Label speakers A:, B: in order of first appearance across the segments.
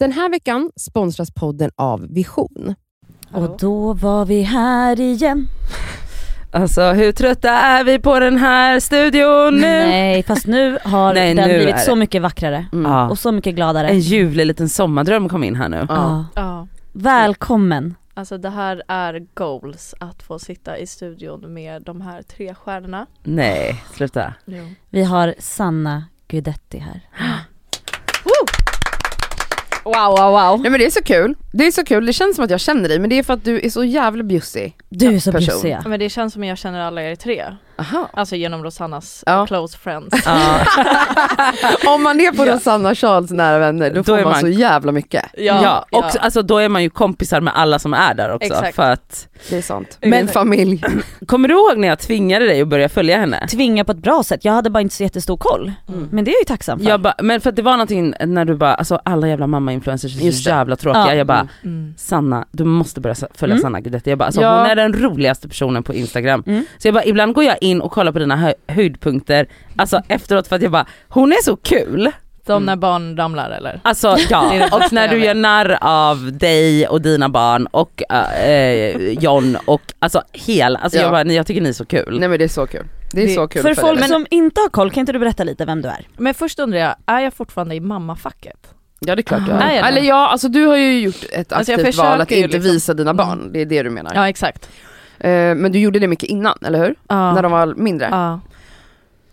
A: Den här veckan sponsras podden av Vision.
B: Och då var vi här igen. Alltså hur trötta är vi på den här studion nu?
C: Nej fast nu har
B: Nej,
C: den
B: nu är
C: blivit så
B: det. Mm.
C: mycket vackrare
B: Ja.
C: och så mycket gladare.
B: En ljuvlig liten sommardröm kom in här nu.
C: Ja.
D: Ja,
C: Välkommen.
D: alltså det här är goals att få sitta i studion med de här tre stjärnorna.
B: Nej, sluta.
D: Jo.
C: Vi har Sanna Guidetti här.
D: Wow, wow, wow.
A: Nej men det är så kul. Det är så kul, det känns som att jag känner dig men det är för att du är så jävla bjussig.
C: Du är så
A: Person.
C: bjussig ja.
D: Men det känns som att jag känner alla er tre,
A: Aha.
D: alltså genom Rosannas
A: Ja.
D: close friends.
B: Ja.
A: Om man är på Rosanna Charles nära vänner då,
B: Då
A: får
B: är
A: man,
B: man-
A: så jävla mycket.
B: Ja, och alltså, då är man ju kompisar med alla som är där också.
D: Exakt.
B: För att,
A: Det är sant.
B: Men-
A: Min familj.
B: kommer du ihåg när jag tvingade dig att börja följa henne?
C: Tvinga på ett bra sätt, jag hade bara inte så jättestor koll.
A: Mm.
C: Men det är jag ju tacksam för.
B: Jag bara, men för att det var någonting när du bara, alltså alla jävla mamma-influencers är
A: Just
B: så
A: det.
B: jävla tråkiga.
C: Ja.
B: Jag bara,
A: Mm.
D: Mm.
B: Sanna, du måste börja följa
C: Mm.
B: Sanna Guidetti. Jag bara, alltså,
A: Ja.
B: hon är den roligaste personen på Instagram.
C: Mm.
B: Så jag bara, ibland går jag in och kollar på dina hö- höjdpunkter, alltså efteråt för att jag bara, hon är så kul.
D: De när barn ramlar eller?
B: Alltså
D: Det är
B: ja,
D: det
B: och
D: bästa
B: när
D: jag
B: du
D: vet.
B: gör narr av dig och dina barn och eh, eh, John och alltså hela, alltså
A: Ja.
B: jag bara, nej, jag tycker ni är så kul.
A: Nej men det är så kul. Det är
D: Det-
A: så kul
C: för folk
A: dig.
C: som inte har koll, kan inte du berätta lite vem du är?
D: Men först undrar jag, är jag fortfarande i mammafacket?
A: Ja det är klart du
D: Aha.
A: är.
D: Nej, jag-
A: Eller ja, alltså du har ju gjort ett
D: Alltså, jag
A: aktivt val att
D: försöker ju
A: inte
D: liksom.
A: visa dina barn, det är det du menar.
D: Ja exakt.
A: Eh, Men du gjorde det mycket innan, eller hur?
D: Ja.
A: När de var mindre.
D: ja.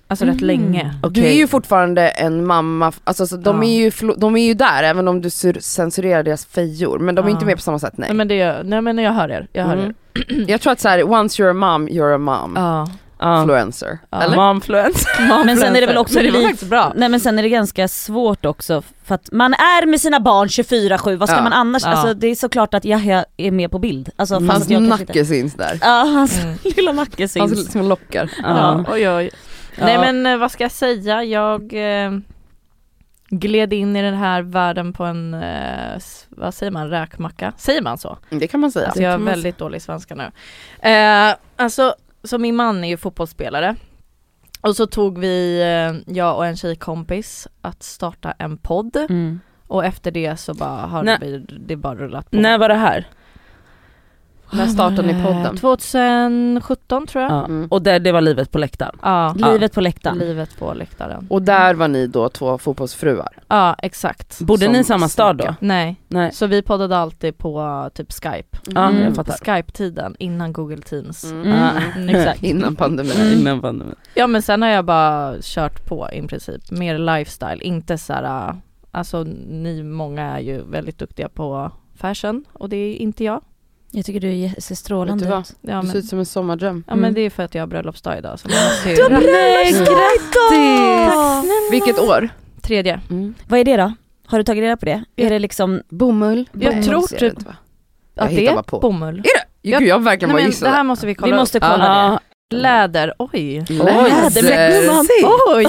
D: Alltså rätt
C: Mm.
D: länge.
B: Okej.
A: Du är ju fortfarande en mamma, alltså så de,
D: Ja.
A: är ju, förlo- de är ju där även om du sur- censurerar deras fejor, men de är
D: Ja.
A: inte med på samma sätt nej.
D: Nej men, det, nej men jag hör er, jag hör
A: Mm.
D: er.
A: Jag tror att så här, once you're a mom, you're a mom.
D: Ja.
B: ja.
A: Influencer.
D: Ja.
A: Eller?
B: Momfluence.
C: Men sen är det väl också
D: Men det var
C: lite-
D: faktiskt bra.
C: Nej men sen är det ganska svårt också för att man är med sina barn 24-7, vad ska
A: Ja.
C: man annars?
D: Ja.
C: Alltså det är såklart att Yahya är med på bild. Alltså, fast
A: Hans
C: jag kanske inte-
A: nacke Mm. syns där.
C: Ja hans
D: Mm.
C: lilla nacke syns.
A: Hans små lockar.
B: Ja.
D: Ja, oj, oj.
C: Ja.
D: Nej men eh, vad ska jag säga, jag eh, gled in i den här världen på en, eh, s- vad säger man, räkmacka? Säger man så?
A: Mm, Det kan man säga.
D: Alltså jag är
B: kan man
D: väldigt dålig i svenska nu. Eh, alltså, så min man är ju fotbollsspelare. Och så tog vi, eh, jag och en tjejkompis, att starta en podd.
C: Mm.
D: Och efter det så bara har
B: Nej.
D: vi, det bara rullat på.
B: När var det här?
A: När startade ni podden?
D: Eh, 2017 tror jag. Ja,
B: Ja.
A: Mm.
B: Och där, det var livet på läktaren. Ja.
C: Livet på läktaren.
D: livet på läktaren.
A: Och där var ni då två fotbollsfruar.
D: Ja, exakt.
B: Bodde
A: Som
B: ni i samma stad då?
D: Nej.
B: Nej.
D: Så vi poddade alltid på eh, typ Skype.
B: Ja,
C: Mm.
D: På
B: jag fattar.
D: Skype-tiden innan Google Teams.
A: Mm.
C: Mm.
B: Ja.
D: Mm, exakt.
A: Innan pandemin.
C: Mm.
B: Innan pandemin.
D: Ja men sen har jag bara kört på i princip. Mer lifestyle, inte så här. eh, Alltså ni många är ju väldigt duktiga på fashion och det är inte jag.
C: Jag tycker du är- ser strålande
A: Vet du vad?
C: ut.
D: Ja
A: Du ser
D: men,
A: ut som en sommardröm.
D: ja, men
C: Mm.
D: det är för att jag har bröllopsdag idag. Så man måste ju...
B: Nej,
C: grattis!
A: Vilket år?
D: Tredje.
A: Mm.
C: Vad är det då? Har du tagit reda på det? Är det liksom,
A: Bomull.
D: Jag
A: Nej,
D: tror
A: ser det
D: typ-
A: inte, va? Jag
D: Att det
A: hittar bara
D: är
A: på.
D: bomull.
A: Gud jag har verkligen
D: Nej,
A: bara
D: men det här
A: gissat.
D: måste vi kolla
C: vi måste
D: upp.
C: kolla det.
B: Ja.
D: Läder, oj.
C: Läder,
A: Läder.
C: men-
D: Oj!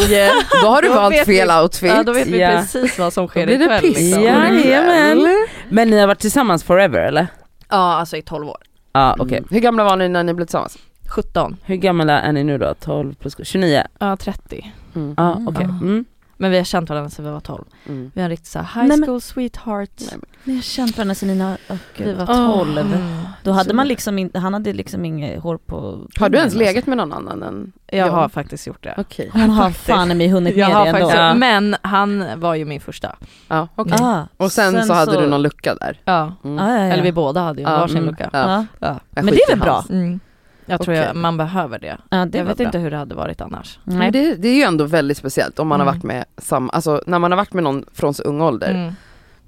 A: Då har du
D: Då
A: valt
D: vet
A: fel
D: vi-
A: outfit.
D: Ja då vet vi
B: Ja.
D: precis vad som
A: Då
D: sker
A: blir det
D: ikväll.
A: piss.
D: liksom.
B: Ja. Jajamän.
A: Eller?
B: Men ni har varit tillsammans forever eller?
D: Ja alltså i 12 år.
B: Ja okej.
A: Mm. Hur gamla var ni när ni blev tillsammans?
D: 17.
B: Hur gamla är ni nu då? 12 plus 29?
D: Ja 30.
B: Ja
C: Mm.
B: okej.
D: Ja.
B: Mm.
D: Men vi har känt varandra sedan vi var 12.
A: Mm.
D: Vi har en riktig så här
C: Nej,
D: high
C: men-
D: school sweetheart.
A: Nej,
C: ni har känt varandra sen ni var- åh, gud.
D: Vi var
B: Åh.
D: 12.
C: Då hade man liksom inte, han hade liksom inget hår på Alltså.
A: Har du ens
C: pinnen,
A: legat med någon annan än...
D: Jag
A: Ja.
D: har faktiskt gjort det.
A: Okej.
C: alltså. Hon har
D: faktiskt.
C: fan i mig hunnit med
D: Jag har
C: det ändå.
D: faktiskt,
B: Ja.
D: Men han var ju min första.
A: Ja, okej.
C: Ah,
A: Och sen, så hade du någon lucka där.
D: Ja.
A: Mm.
C: ah, ja, ja, ja.
D: Eller vi båda hade ju
A: Ja,
D: varsin
B: mm.
D: lucka.
A: Ja.
C: Ja.
D: Ja.
A: Jag
C: Men det
A: skiter
C: är väl
A: i
C: bra?
A: hans.
D: Mm. Jag tror
A: Okej.
D: jag, man behöver det.
C: Ja, det
D: jag
C: var
D: vet
C: bra.
D: inte hur det hade varit annars.
A: Men
C: Nej.
A: det, det är ju ändå väldigt speciellt om man har
D: Mm.
A: varit med samma, alltså när man har varit med någon från så ung ålder,
D: Mm.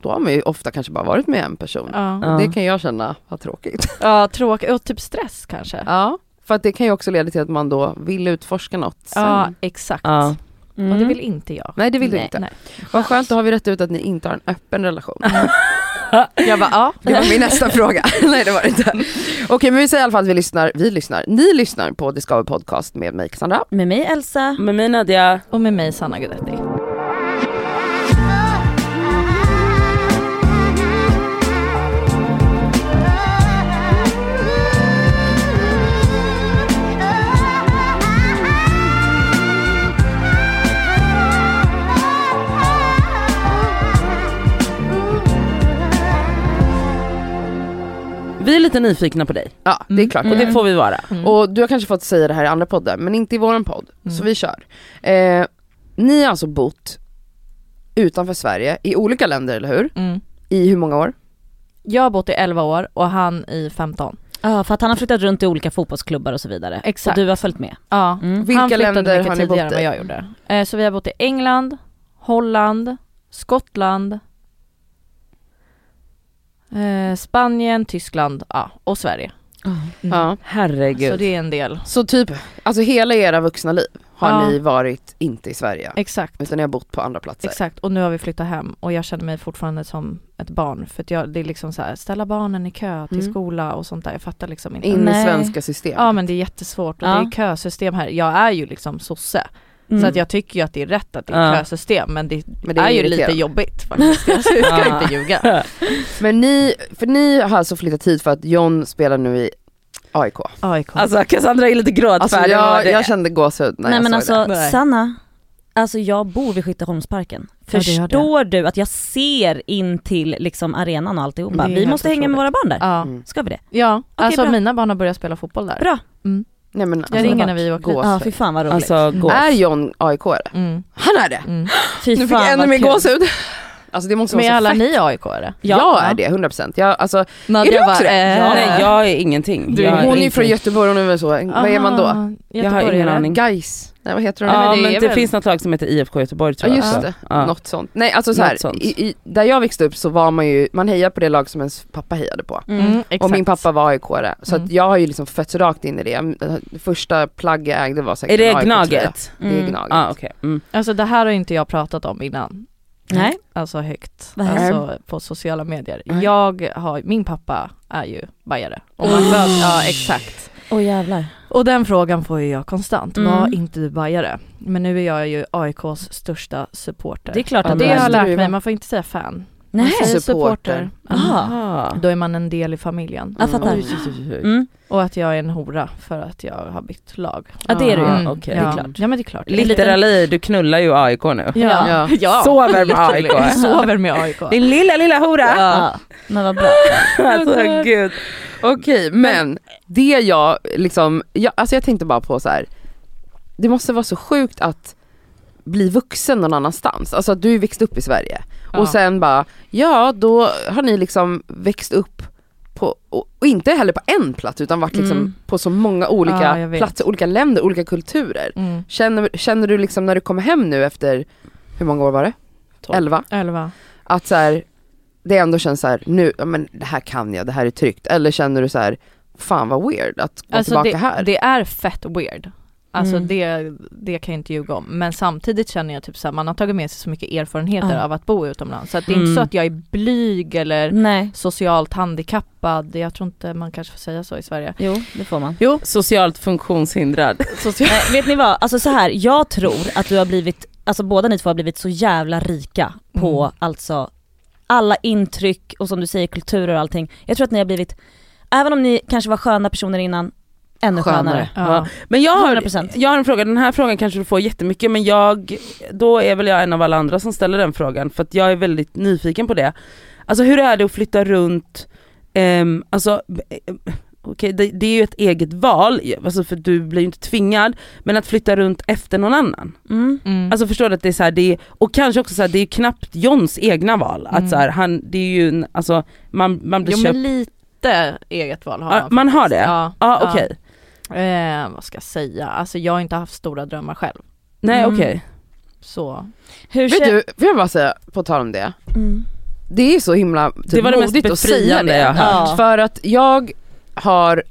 A: då har man ju ofta kanske bara varit med en person.
D: Ja.
B: Ja.
A: Det kan jag känna var tråkigt.
D: ja, tråkigt. Och typ stress kanske.
A: Ja, för att det kan ju också leda till att man då vill utforska något sen.
D: Ja, exakt.
B: Ja.
C: Mm.
D: Och det vill inte jag.
A: Nej det vill du
C: Nej,
A: inte.
D: nej.
A: Vad skönt, då har vi rätt ut att ni inte har en öppen relation.
D: Jag bara, ja.
A: Det var min nästa fråga. Nej det var det inte. Okej men vi säger i alla fall att vi lyssnar, vi lyssnar, ni lyssnar på Discover Podcast med mig Cassandra.
C: Med mig Elsa.
B: Med mig Nadia.
D: Och med mig Sanna Guidetti.
E: Ooh.
B: vi är lite nyfikna på dig.
A: Ja, det är klart
B: Och
A: vi
B: det får vi vara.
D: Mm.
A: Och du har kanske fått säga det här i andra poddar, men inte i våran podd.
D: Mm.
A: Så vi kör. Eh, ni har alltså bott utanför Sverige, i olika länder eller hur?
D: Mm.
A: I hur många år?
D: Jag har bott i 11 år och han i 15.
C: Ja, för att han har flyttat runt till olika fotbollsklubbar och så vidare.
D: Exakt.
C: Och du har följt med.
D: Ja.
C: Mm.
A: Vilka
D: han flyttade
A: länder
D: mycket
A: har ni bott
D: tidigare än vad
A: i?
D: jag gjorde.
A: Mm.
D: Eh, så vi har bott i England, Holland, Skottland, eh, Spanien, Tyskland ja, och Sverige.
C: Mm.
A: Ja.
B: Herregud.
D: Så det är en del.
A: Så typ, alltså hela era vuxna liv har
D: Ja.
A: ni varit inte i Sverige,
D: Exakt.
A: utan ni har bott på andra platser.
D: Exakt, och nu har vi flyttat hem och jag känner mig fortfarande som ett barn för att jag, det är liksom så här, ställa barnen i kö till
A: Mm.
D: skola och sånt där, jag fattar liksom inte.
A: In i
C: Nej.
A: svenska system.
D: Ja men det är jättesvårt och
C: Ja.
D: det är kösystem här, jag är ju liksom sosse
C: Mm.
D: så att jag tycker ju att det är rätt att det är
B: Ja.
D: kösystem men det,
A: Men det är
D: är, ju lite
A: irriterande.
D: jobbigt faktiskt, jag ska
B: Ja.
D: inte ljuga.
A: Men ni, för ni har alltså flyttat hit för att John spelar nu i AIK.
D: AIK.
B: Alltså Cassandra är lite
A: Alltså
B: gråtfärdig.
A: jag,
B: det.
A: jag kände gåshud när
C: Nej,
A: jag
C: men
A: såg
C: alltså
A: det.
D: Nej.
C: Sanna, alltså jag bor vid Skytteholmsparken.
D: Ja, det gör det.
C: Förstår du att jag ser in till liksom arenan och alltihopa.
D: Det är
C: Vi
D: helt
C: måste hänga med våra barn där.
D: Ja,
A: Mm.
C: Ska vi det?
D: ja. alltså
C: bra.
D: mina barn har börjat spela fotboll där.
C: Bra.
A: Nej, men
D: Jag
A: alltså,
D: ringer när vi åker dit.
A: gåshud.
C: Ja fy fan vad roligt.
B: Alltså gås.
A: Är John AIK? -are?
D: Mm.
A: Han är det!
D: Mm.
C: fy
A: Nu fick
C: fan
A: jag ännu
C: vad
A: mer
C: kul.
A: gåshud. Alltså det måste vara
D: Men
A: så
D: är alla
A: fett.
D: ni AIK-are?
A: Ja, jag är
D: Ja.
A: det, 100%. Jag, alltså,
D: Nadja
A: Är du
D: bara,
A: också det?
D: eh,
B: Ja, nej, jag är ingenting.
D: Du-
B: jag
A: hon är ju
B: ingenting.
A: från Göteborg och nu är så, vad är man då?
D: Aha,
B: Jag har ingen
D: göteborgare.
B: aning.
A: Guys. Nej vad heter de?
D: men
B: Ja
D: det
B: men
D: är
B: det
D: väl-
B: finns något lag som heter IFK Göteborg tror
A: Ja
B: jag.
A: just det,
B: Ja.
A: något sånt. Nej alltså så här,
B: Något sånt.
A: i, i, där jag växte upp så var man ju, man hejade på det lag som ens pappa hejade på.
D: Mm,
C: Mm.
D: exakt.
A: Och min pappa var aik E. så
D: Mm.
A: att jag har ju liksom fötts rakt in i det. Det Första plagg jag ägde var säkert
B: Är
A: en
B: det
A: AIK -tröja.
B: Gnaget?
A: Det är
C: Mm.
A: Gnaget.
B: Ja ah, okej. Mm.
D: Alltså det här har ju inte jag pratat om innan.
C: Nej.
D: Alltså högt.
C: Vad
A: här?
D: Alltså på sociala medier.
A: Nej.
D: Jag har, min pappa är ju bajare. Och man föds, ja exakt.
C: Åh jävlar.
D: Och den frågan får ju jag konstant.
C: Mm.
D: Var inte du bajare? Men nu är jag ju AIKs största supporter.
C: Det är klart
A: Ja,
C: att
D: det
A: men-
C: alltså, du
D: har
C: är.
D: jag
A: Du är
D: lärt mig,
A: väl-
D: man får inte säga fan.
C: Nej.
D: Man säger
A: Supporter.
D: Mm.
B: Ah.
D: Då är man en del i familjen.
C: Jag fattar.
A: Oj,
C: Mm.
D: Och att jag är en hora för att jag har bytt lag.
C: Ja det är du
B: Mm.
C: ja.
B: okej.
D: ja.
B: Det är
D: klart. Ja men det är klart.
B: Literally, du knullar ju AIK nu.
D: Ja.
A: Ja.
D: Ja.
B: Sover med AIK.
D: Literally. Sover med AIK.
B: Din lilla lilla hora!
C: Ja. Men vad bra.
B: alltså gud.
A: Okej E. men det jag liksom, jag, alltså jag tänkte bara på så här. det måste vara så sjukt att bli vuxen någon annanstans. Alltså att du växte upp i Sverige
D: Ja.
A: och sen bara, ja då har ni liksom växt upp på, och, och inte heller på en plats utan varit liksom
C: Mm.
A: på så många
D: Ja,
A: olika
D: jag vet.
A: platser, olika länder, olika kulturer.
D: Mm.
A: Känner, känner du liksom när du kommer hem nu efter, hur många år var det?
B: Tolv.
A: Elva?
D: Elva.
A: att så här, det ändå känns så här, nu, ja, men det här kan jag, det här är tryggt. Eller känner du så här, fan vad weird att gå
D: Alltså
A: tillbaka
D: det,
A: här.
D: det är fett weird. Alltså
C: Mm.
D: det, det kan jag inte ljuga om. Men samtidigt känner jag typ såhär, man har tagit med sig så mycket erfarenheter
C: Ja. Mm.
D: av att bo utomlands. Så att det är inte
B: Mm.
D: så att jag är blyg eller
C: Nej.
D: socialt handikappad. Jag tror inte man kanske får säga så i Sverige.
C: Jo det får man.
B: Socialt funktionshindrad.
D: Social...
C: Nej, vet ni vad, alltså så här, jag tror att du har blivit, alltså båda ni två har blivit så jävla rika på
D: Mm.
C: alltså alla intryck och som du säger kulturer och allting. Jag tror att ni har blivit, även om ni kanske var sköna personer innan, ännu skönare.
D: Ja.
B: Men jag har,
C: 100%.
B: jag har en fråga, den här frågan kanske du får jättemycket men jag, då är väl jag en av alla andra som ställer den frågan för att jag är väldigt nyfiken på det. Alltså hur är det att flytta runt, um, alltså b- eh, okej det, det är ju ett eget val, alltså för du blir ju inte tvingad, men att flytta runt efter någon annan.
C: Mm.
D: Mm.
B: Alltså förstår du att det är så här, det är, och kanske också så här, det är ju knappt Johns egna val.
D: Mm.
B: Att så här, han, det är ju en, alltså man, man blir
D: jo
B: köpt,
D: men lite eget val har
B: Ja,
D: man.
B: man har det?
D: Ja,
B: ja ah, okej.
D: Ja. Eh, vad ska jag säga? Alltså jag har inte haft stora drömmar själv.
B: Nej
C: Mm.
B: okej.
D: Så
C: Hur
A: Vet
C: kän-
A: du, får jag bara säga, på tal om det,
C: Mm.
A: det är så himla typ,
B: Det var det mest
A: modigt att säga
B: befriande
A: det.
B: jag har hört.
C: Ja.
A: För att jag har,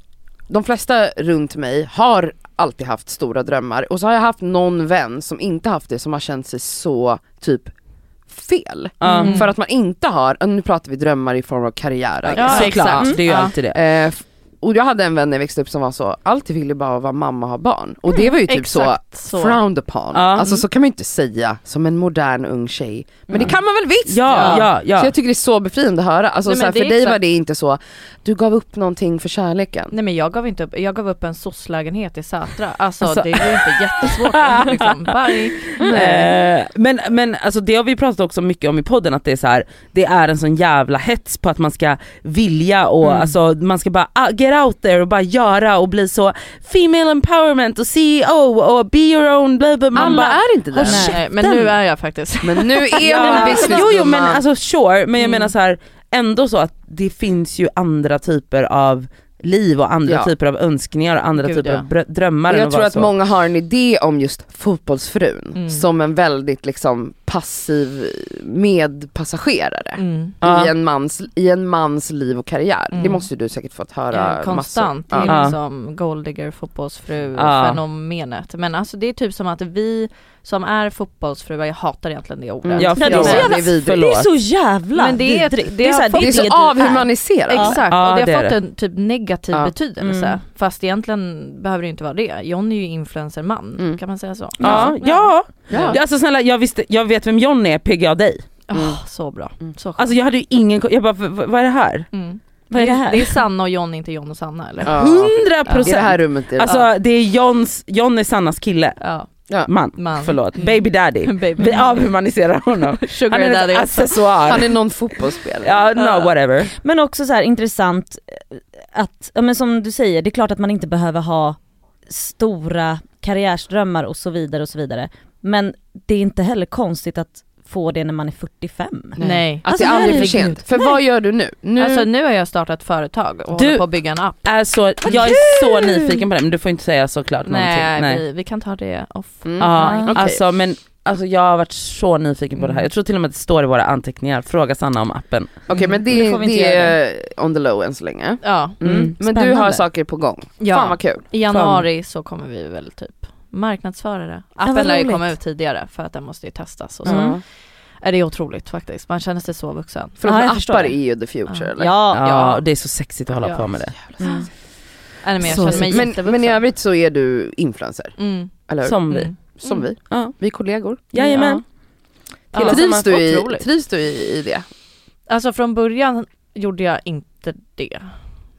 A: de flesta runt mig har alltid haft stora drömmar och så har jag haft någon vän som inte haft det som har känt sig så typ fel.
B: Ja.
D: Mm.
A: För att man inte har, nu pratar vi drömmer i form av karriär. I
B: Ja,
A: guess.
D: exakt.
B: såklart, det är ju
D: Ja.
B: alltid det.
A: Eh, f- och jag hade en vän när jag växte upp som var så, alltid ville bara vara mamma och ha barn. Och det var ju typ så
D: Exakt
A: frowned upon.
B: Ja.
A: Alltså
B: Mm.
A: så kan man ju inte säga som en modern ung tjej. Men
C: Mm.
A: det kan man väl visst?
B: Ja, ja,
A: Så
B: ja.
A: jag tycker det är så befriande att höra. Alltså,
D: Nej, men
A: så här,
D: det
A: för
D: är
A: dig var
D: exakt-
A: det inte så, du gav upp någonting för kärleken.
D: Nej men jag gav inte upp, jag gav upp en soc-lägenhet i Sätra. Alltså,
B: Alltså-
D: det är ju inte jättesvårt liksom. Bye.
B: Eh, Men, men alltså det har vi pratat också mycket om i podden att det är så här, det är en sån jävla hets på att man ska vilja och alltså man ska bara ah, get out there och bara göra och bli så female empowerment och CEO och be your own bla bla man
A: Alla
B: bara,
A: är inte där.
B: Håll
D: Nej, men nu är jag faktiskt.
A: Men nu är
B: Ja,
A: hon
B: men alltså,
A: business
B: jo, jo men
A: gumman.
B: alltså sure, men jag
D: Mm.
B: menar så här ändå så att det finns ju andra typer av liv och andra
A: Ja.
B: typer av önskningar och andra
D: Gud,
B: typer
D: ja.
B: av brö- drömmar. än
A: Jag tror
B: vara
A: att
B: så.
A: många har en idé om just fotbollsfrun
D: Mm.
A: som en väldigt liksom passiv medpassagerare.
D: Mm.
B: Ja.
A: I, en mans, I en mans liv och karriär.
D: Mm.
A: Det måste ju du säkert fått höra
D: Eh, Konstant, det
A: massor.
D: är
A: Ja.
B: Ja.
D: liksom golddigger, fotbollsfru,
B: Ja.
D: fenomenet. Men alltså det är typ som att vi som är fotbollsfruar, jag hatar egentligen det ordet.
A: Mm.
B: Ja,
C: Nej, det är
B: förlåt.
C: så jävla-
A: Det är vidrigt.
C: Det
B: förlåt.
C: är så jävla
D: Men det är-
C: vidrigt.
D: det har
C: här,
D: fått-
A: Det är så
C: du
A: avhumaniserat.
D: Exakt,
B: Ja,
D: och det
B: det
D: har fått
B: är det.
D: en typ negativ
A: Ja.
D: betydelse.
C: Mm.
D: Fast egentligen behöver det inte vara det. John är ju influencerman,
A: Mm.
D: kan man säga så?
B: Ja, ja.
A: Ja.
B: Alltså snälla jag, visste, jag vet vem John är, PGA dig.
D: Ah, så bra.
A: Mm.
D: Så skönt.
B: Alltså jag hade ju ingen ko- jag bara v- v- vad är det här?
D: mm.
C: Vad är det här?
D: Det är Sanna och John, inte John och Sanna eller?
A: Ja.
B: Hundra
A: I det här
B: procent!
A: rummet är det.
B: Alltså det är Johns, John är Sannas kille,
D: Ja.
B: man,
D: Man.
B: förlåt,
D: Mm.
B: baby daddy.
D: Baby.
B: Vi avhumaniserar honom.
D: Sugar
B: Han är
D: daddy. alltså.
B: en
A: han
B: accessoar.
A: är någon fotbollsspelare.
B: Ja, no whatever.
C: Men också så här intressant eh, att, ja men som du säger, det är klart att man inte behöver ha stora karriärsdrömmar och så vidare och så vidare. Men det är inte heller konstigt att få det när man är 45.
D: Nej.
A: Att
C: Alltså,
A: det är aldrig för
C: herregud.
A: sent. För vad gör du nu? nu
D: Alltså nu har jag startat företag och
B: Du-
D: håller på att bygga en app.
B: Är så, jag är så nyfiken på det men du får inte säga såklart
D: Nej,
B: någonting. Nej.
D: Vi, vi kan ta det off.
A: mm.
B: Ja,
A: okej.
B: alltså, men, alltså jag har varit så nyfiken på det här. Jag tror till och med att det står i våra anteckningar, fråga Sanna om appen.
A: Okej men det,
C: Det får vi inte
A: det är on the low än så länge.
D: Ja.
A: Mm.
B: Mm.
A: Men du
C: Spännande.
A: har saker på gång.
D: ja.
A: Fan vad kul.
D: I januari så kommer vi väl typ marknadsföra det. Appen
C: vad
D: lär ju
C: roligt.
D: komma ut tidigare för att den måste ju testas och så.
C: Mm.
D: Är det är otroligt faktiskt, man känner sig så vuxen.
A: För de
C: Ja,
A: här
C: jag förstår
A: appar
C: det.
A: är ju the future.
D: Ja.
A: eller?
C: Ja,
B: Ja,
D: Ja.
B: det är så sexigt att hålla
D: Ja.
B: på med det.
C: mm.
D: Eller men jag
B: Så
D: känner mig
A: men,
D: jättevuxen.
A: men i övrigt så är du influencer,
D: mm.
A: eller hur? Som,
B: Som vi.
D: Mm. Mm.
A: vi.
B: Ja.
A: Vi är kollegor.
B: Jajamän.
D: Ja. Ja.
A: Trivs, du i,
D: Otroligt.
A: trivs du i, i det?
D: Alltså från början gjorde jag inte det.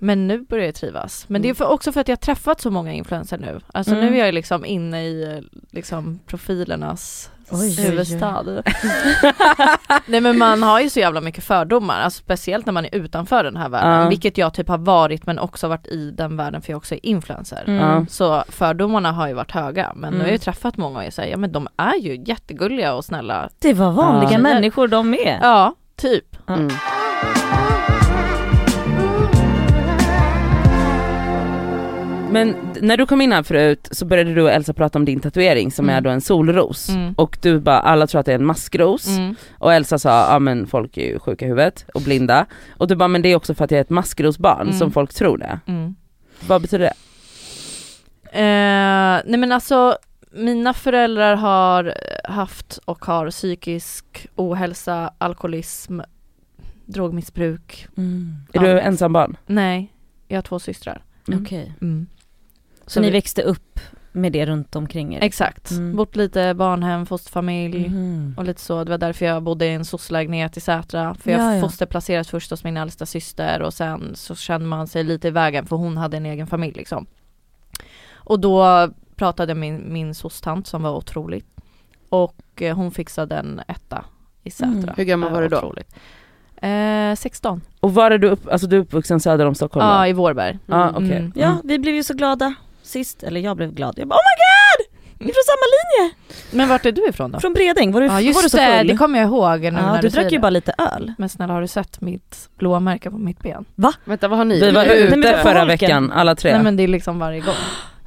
D: Men nu börjar jag trivas. Men det
C: Mm.
D: är för, också för att jag har träffat så många influencers nu. Alltså
B: Mm.
D: nu är jag liksom inne i eh, liksom profilernas
C: Oj, oj, oj.
D: huvudstad. Nej men man har ju så jävla mycket fördomar, alltså speciellt när man är utanför den här världen.
B: Ja.
D: Vilket jag typ har varit men också varit i den världen för jag också är influencer.
C: Mm.
B: Ja.
D: Så fördomarna har ju varit höga men nu har jag ju
C: Mm.
D: träffat många och jag säger ja men de är ju jättegulliga och snälla.
C: Det var vanliga
B: Ja.
C: människor de är.
D: Ja, typ.
C: Ja.
A: Mm.
B: Men d- när du kom in här förut så började du och Elsa prata om din tatuering som
D: Mm.
B: är då en solros.
D: Mm.
B: Och du bara, alla tror att det är en maskros.
D: Mm.
B: Och Elsa sa, ja men folk är ju sjuka i huvudet och blinda. Och du bara, men det är också för att jag är ett maskrosbarn
D: Mm.
B: som folk tror det.
D: Mm.
B: Vad betyder det?
D: Eh, nej men alltså mina föräldrar har haft och har psykisk ohälsa, alkoholism, drogmissbruk.
C: Mm.
B: Är du
D: Ja.
B: ensam barn?
D: Nej, jag har två systrar.
B: Mm.
C: Okej.
D: Så,
C: Så ni
D: vi,
C: växte upp med det runt omkring er?
D: Exakt,
C: Mm.
D: bott lite barnhem, fosterfamilj
C: Mhm.
D: och lite så. Det var därför jag bodde i en soc-lägenhet i Sätra. För jag
C: Ja, ja.
D: fosterplacerades först hos min äldsta syster och sen så kände man sig lite i vägen för hon hade en egen familj liksom. Och då pratade min, min soc-tant som var otrolig och eh, hon fixade en etta i Sätra.
C: Mm.
A: Hur gammal
D: Eh,
A: var du då?
D: Otroligt. Eh, 16.
B: Och var är du, upp, alltså du är uppvuxen söder om Stockholm?
D: Ja,
B: va?
D: i Vårberg.
B: Ja, okej.
D: Mm.
C: Ja, vi blev ju så glada sist, eller jag blev glad. Jag bara oh my god! Vi är från samma linje!
D: Men vart är du ifrån då?
C: Från Bredäng, var du,
D: Ja
C: var du
D: just
C: så
D: det,
C: full?
D: det kommer jag ihåg nu
C: ja,
D: när
C: du
D: du
C: drack
D: säger
C: ju
D: det.
C: bara lite öl.
D: Men snälla har du sett mitt blåa märke på mitt ben?
A: Vänta vad har ni?
B: Vi var
C: Nej,
B: ute
C: men det var
B: förra
C: Holken.
B: veckan, alla tre.
D: Nej men det är liksom varje gång.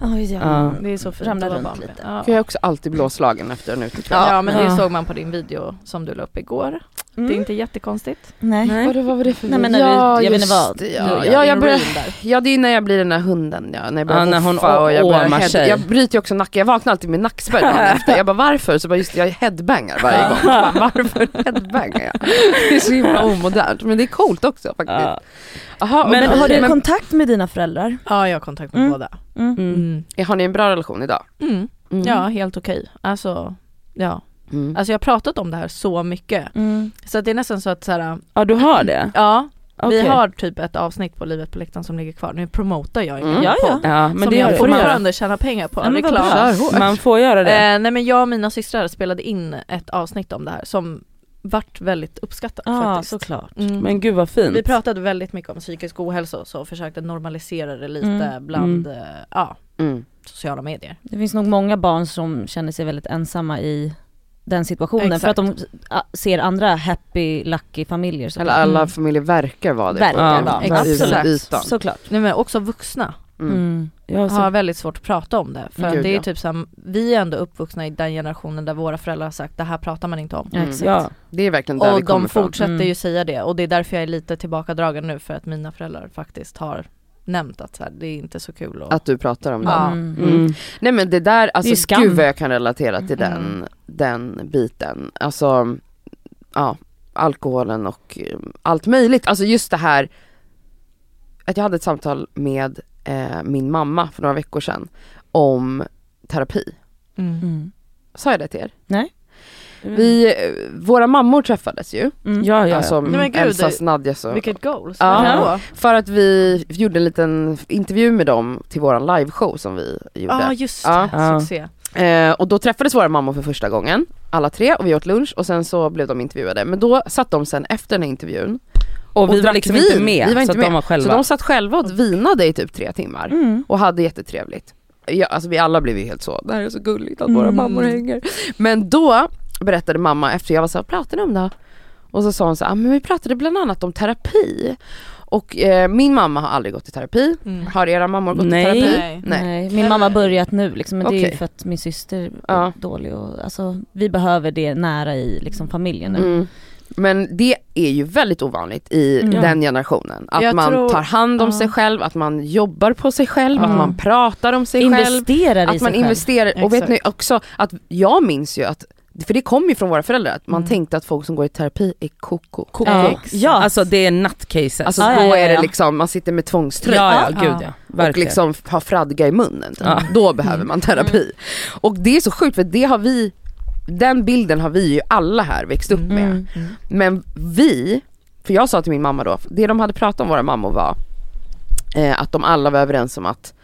C: Oj,
B: Ja.
D: Det är så fint.
C: Ramlar
D: att vara
C: runt
D: barn.
C: lite.
D: Ja.
A: Jag är också alltid blåslagen efter en utekväll.
D: Ja Mm. men det
B: Ja.
D: såg man på din video som du la upp igår. Det är inte jättekonstigt.
C: Mm. Nej.
A: Vadå, vad var det för
C: Nej, men när
A: ja,
C: du- jag vet inte
A: just
C: vad.
A: det,
C: Nu
A: Ja,
C: gör
A: ja,
C: vi
A: jag
C: en
A: börjar,
C: reel där.
A: ja det är när jag blir den där hunden ja, när jag börjar
B: Ja, när hon
A: hoffa och jag börjar
B: åmar
A: head,
B: sig.
A: Jag bryter ju också nacken, jag vaknar alltid med nackspärr dagen efter. Jag bara varför? Så bara just det, jag headbangar varje gång. Jag Bara, varför headbangar jag? Det är så himla omodernt men det är coolt också faktiskt.
B: Ja.
A: Aha,
B: Men
A: men,
C: Har du
A: men,
C: kontakt med dina föräldrar?
D: Ja, jag har kontakt med
C: Mm.
D: båda.
C: Mm.
B: Mm.
D: Mm.
A: har ni en bra relation idag?
D: Mm.
A: Mm.
D: Ja, helt okej. Alltså, ja.
A: Mm.
D: Alltså jag har pratat om det här så mycket.
C: Mm.
D: Så att det är nästan så att så här,
B: Ja du har det?
D: ja, vi
B: Okej.
D: har typ ett avsnitt på Livet på läktaren som ligger kvar. Nu promotar jag ju min
A: Mm.
C: Ja, ja.
D: podd.
B: Ja men
D: som
B: det
D: jag
B: får man göra.
D: fortfarande tjänar pengar på,
C: Ja, men vad
D: reklam.
C: bra.
A: Kör hårt.
B: Man får göra det.
D: Eh, nej men jag och mina systrar spelade in ett avsnitt om det här som vart väldigt uppskattat
C: Ja,
D: faktiskt.
C: såklart.
D: Mm.
B: Men gud vad fint.
D: Vi pratade väldigt mycket om psykisk ohälsa och så och försökte normalisera det lite
C: Mm.
D: bland
B: Mm.
D: eh, ja,
A: Mm.
D: sociala medier.
C: Det finns nog många barn som känner sig väldigt ensamma i den situationen för att
D: Exakt.
C: de a- ser andra happy, lucky familjer
A: Eller
C: såklart.
A: alla
D: Mm.
A: familjer verkar vara det.
C: Verkar
A: på
B: vara.
A: den här
D: Absolut.
A: ytan.
C: Såklart.
D: Nej, men också vuxna
A: Mm.
C: Mm.
B: Ja, så-
D: har väldigt svårt att prata om det. För
A: Gud,
D: det är
A: ja.
D: typ så här, vi är ändå uppvuxna i den generationen där våra föräldrar har sagt det här pratar man inte om.
C: Ja,
A: Mm.
C: exakt.
B: ja.
A: Det är verkligen där vi
D: Och
A: kommer
D: de
A: ifrån.
D: fortsätter
C: Mm.
D: ju säga det och det är därför jag är lite tillbakadragen nu för att mina föräldrar faktiskt har nämnt att så här, det är inte så kul. Och,
A: Att du pratar om det.
D: Ja.
C: Mm.
B: Mm.
A: Nej men det där,
C: ju
A: alltså
C: skam.
A: gud vad jag kan relatera till den,
D: Mm.
A: den biten. Alltså, ja, alkoholen och eh, allt möjligt. Alltså just det här, att jag hade ett samtal med eh, min mamma för några veckor sedan om terapi.
D: Mm.
C: Mm.
A: Sa jag det till er?
B: Vi,
A: Vi, eh, våra mammor träffades ju,
C: Mm.
B: ja, ja, ja.
A: alltså
D: Nej, men gud,
A: Elsas, Nadjas och
D: Vilket goals!
A: Mm. Ja.
D: Ja,
A: För att vi gjorde en liten intervju med dem till våran liveshow som vi gjorde.
D: ah, just
A: Ja.
D: det,
B: Ja.
D: succé.
A: Eh, och då träffades våra mammor för första gången, alla tre, och vi åt lunch och sen så blev de intervjuade. Men då satt de sen efter den här intervjun,
B: Och vi
A: och
B: var
A: drack
B: liksom
A: vin.
B: inte med,
A: Vi var
B: så
A: inte
B: att
A: med.
B: de var själva.
A: så de satt själva och vinade i typ tre timmar
C: Mm.
A: och hade jättetrevligt. Ja, alltså vi alla blev ju helt så, det här är så gulligt att våra
C: Mm.
A: mammor hänger. Men då berättade mamma efter jag var så här, "Vad pratar ni om då? Och så sa hon så här, "Ah, men vi pratade bland annat om terapi. Och eh, min mamma har aldrig gått i terapi.
D: Mm.
A: Har era mammor gått
B: Nej.
A: i terapi?
D: Nej.
C: Nej. min mamma har börjat nu liksom, men det är ju
A: Okej.
C: för att min syster
A: Ja.
C: är dålig och alltså, vi behöver det nära i liksom, familjen nu.
A: Mm. Men det är ju väldigt ovanligt i
C: Mm.
A: den generationen. Att
D: Jag
A: man
D: tror-
A: tar hand om
D: Ja.
A: sig själv, att man jobbar på sig själv,
C: Ja.
A: att man pratar om sig själv.
C: Investerar i
A: Att
C: sig
A: man
C: själv.
A: investerar. Och vet
D: Exakt.
A: ni också att jag minns ju att, för det kom ju från våra föräldrar, att man
D: Mm.
A: tänkte att folk som går i terapi är koko.
B: Koko.
C: ja. ja,
B: Alltså det är nattcases.
A: Alltså
C: Ja,
A: då
C: ja, ja,
A: är det
C: ja.
A: liksom, man sitter med tvångströja.
B: ja, ja,
D: Ja.
B: gud ja.
A: och
B: Verkligen.
A: liksom har fradga i munnen. Typ.
B: Ja.
A: Då behöver
C: Mm.
A: man terapi. Och det är så sjukt för det har vi, den bilden har vi ju alla här växt upp med.
C: Mm.
A: Men vi, för jag sa till min mamma då, det de hade pratat om våra mammor var eh, att de alla var överens om att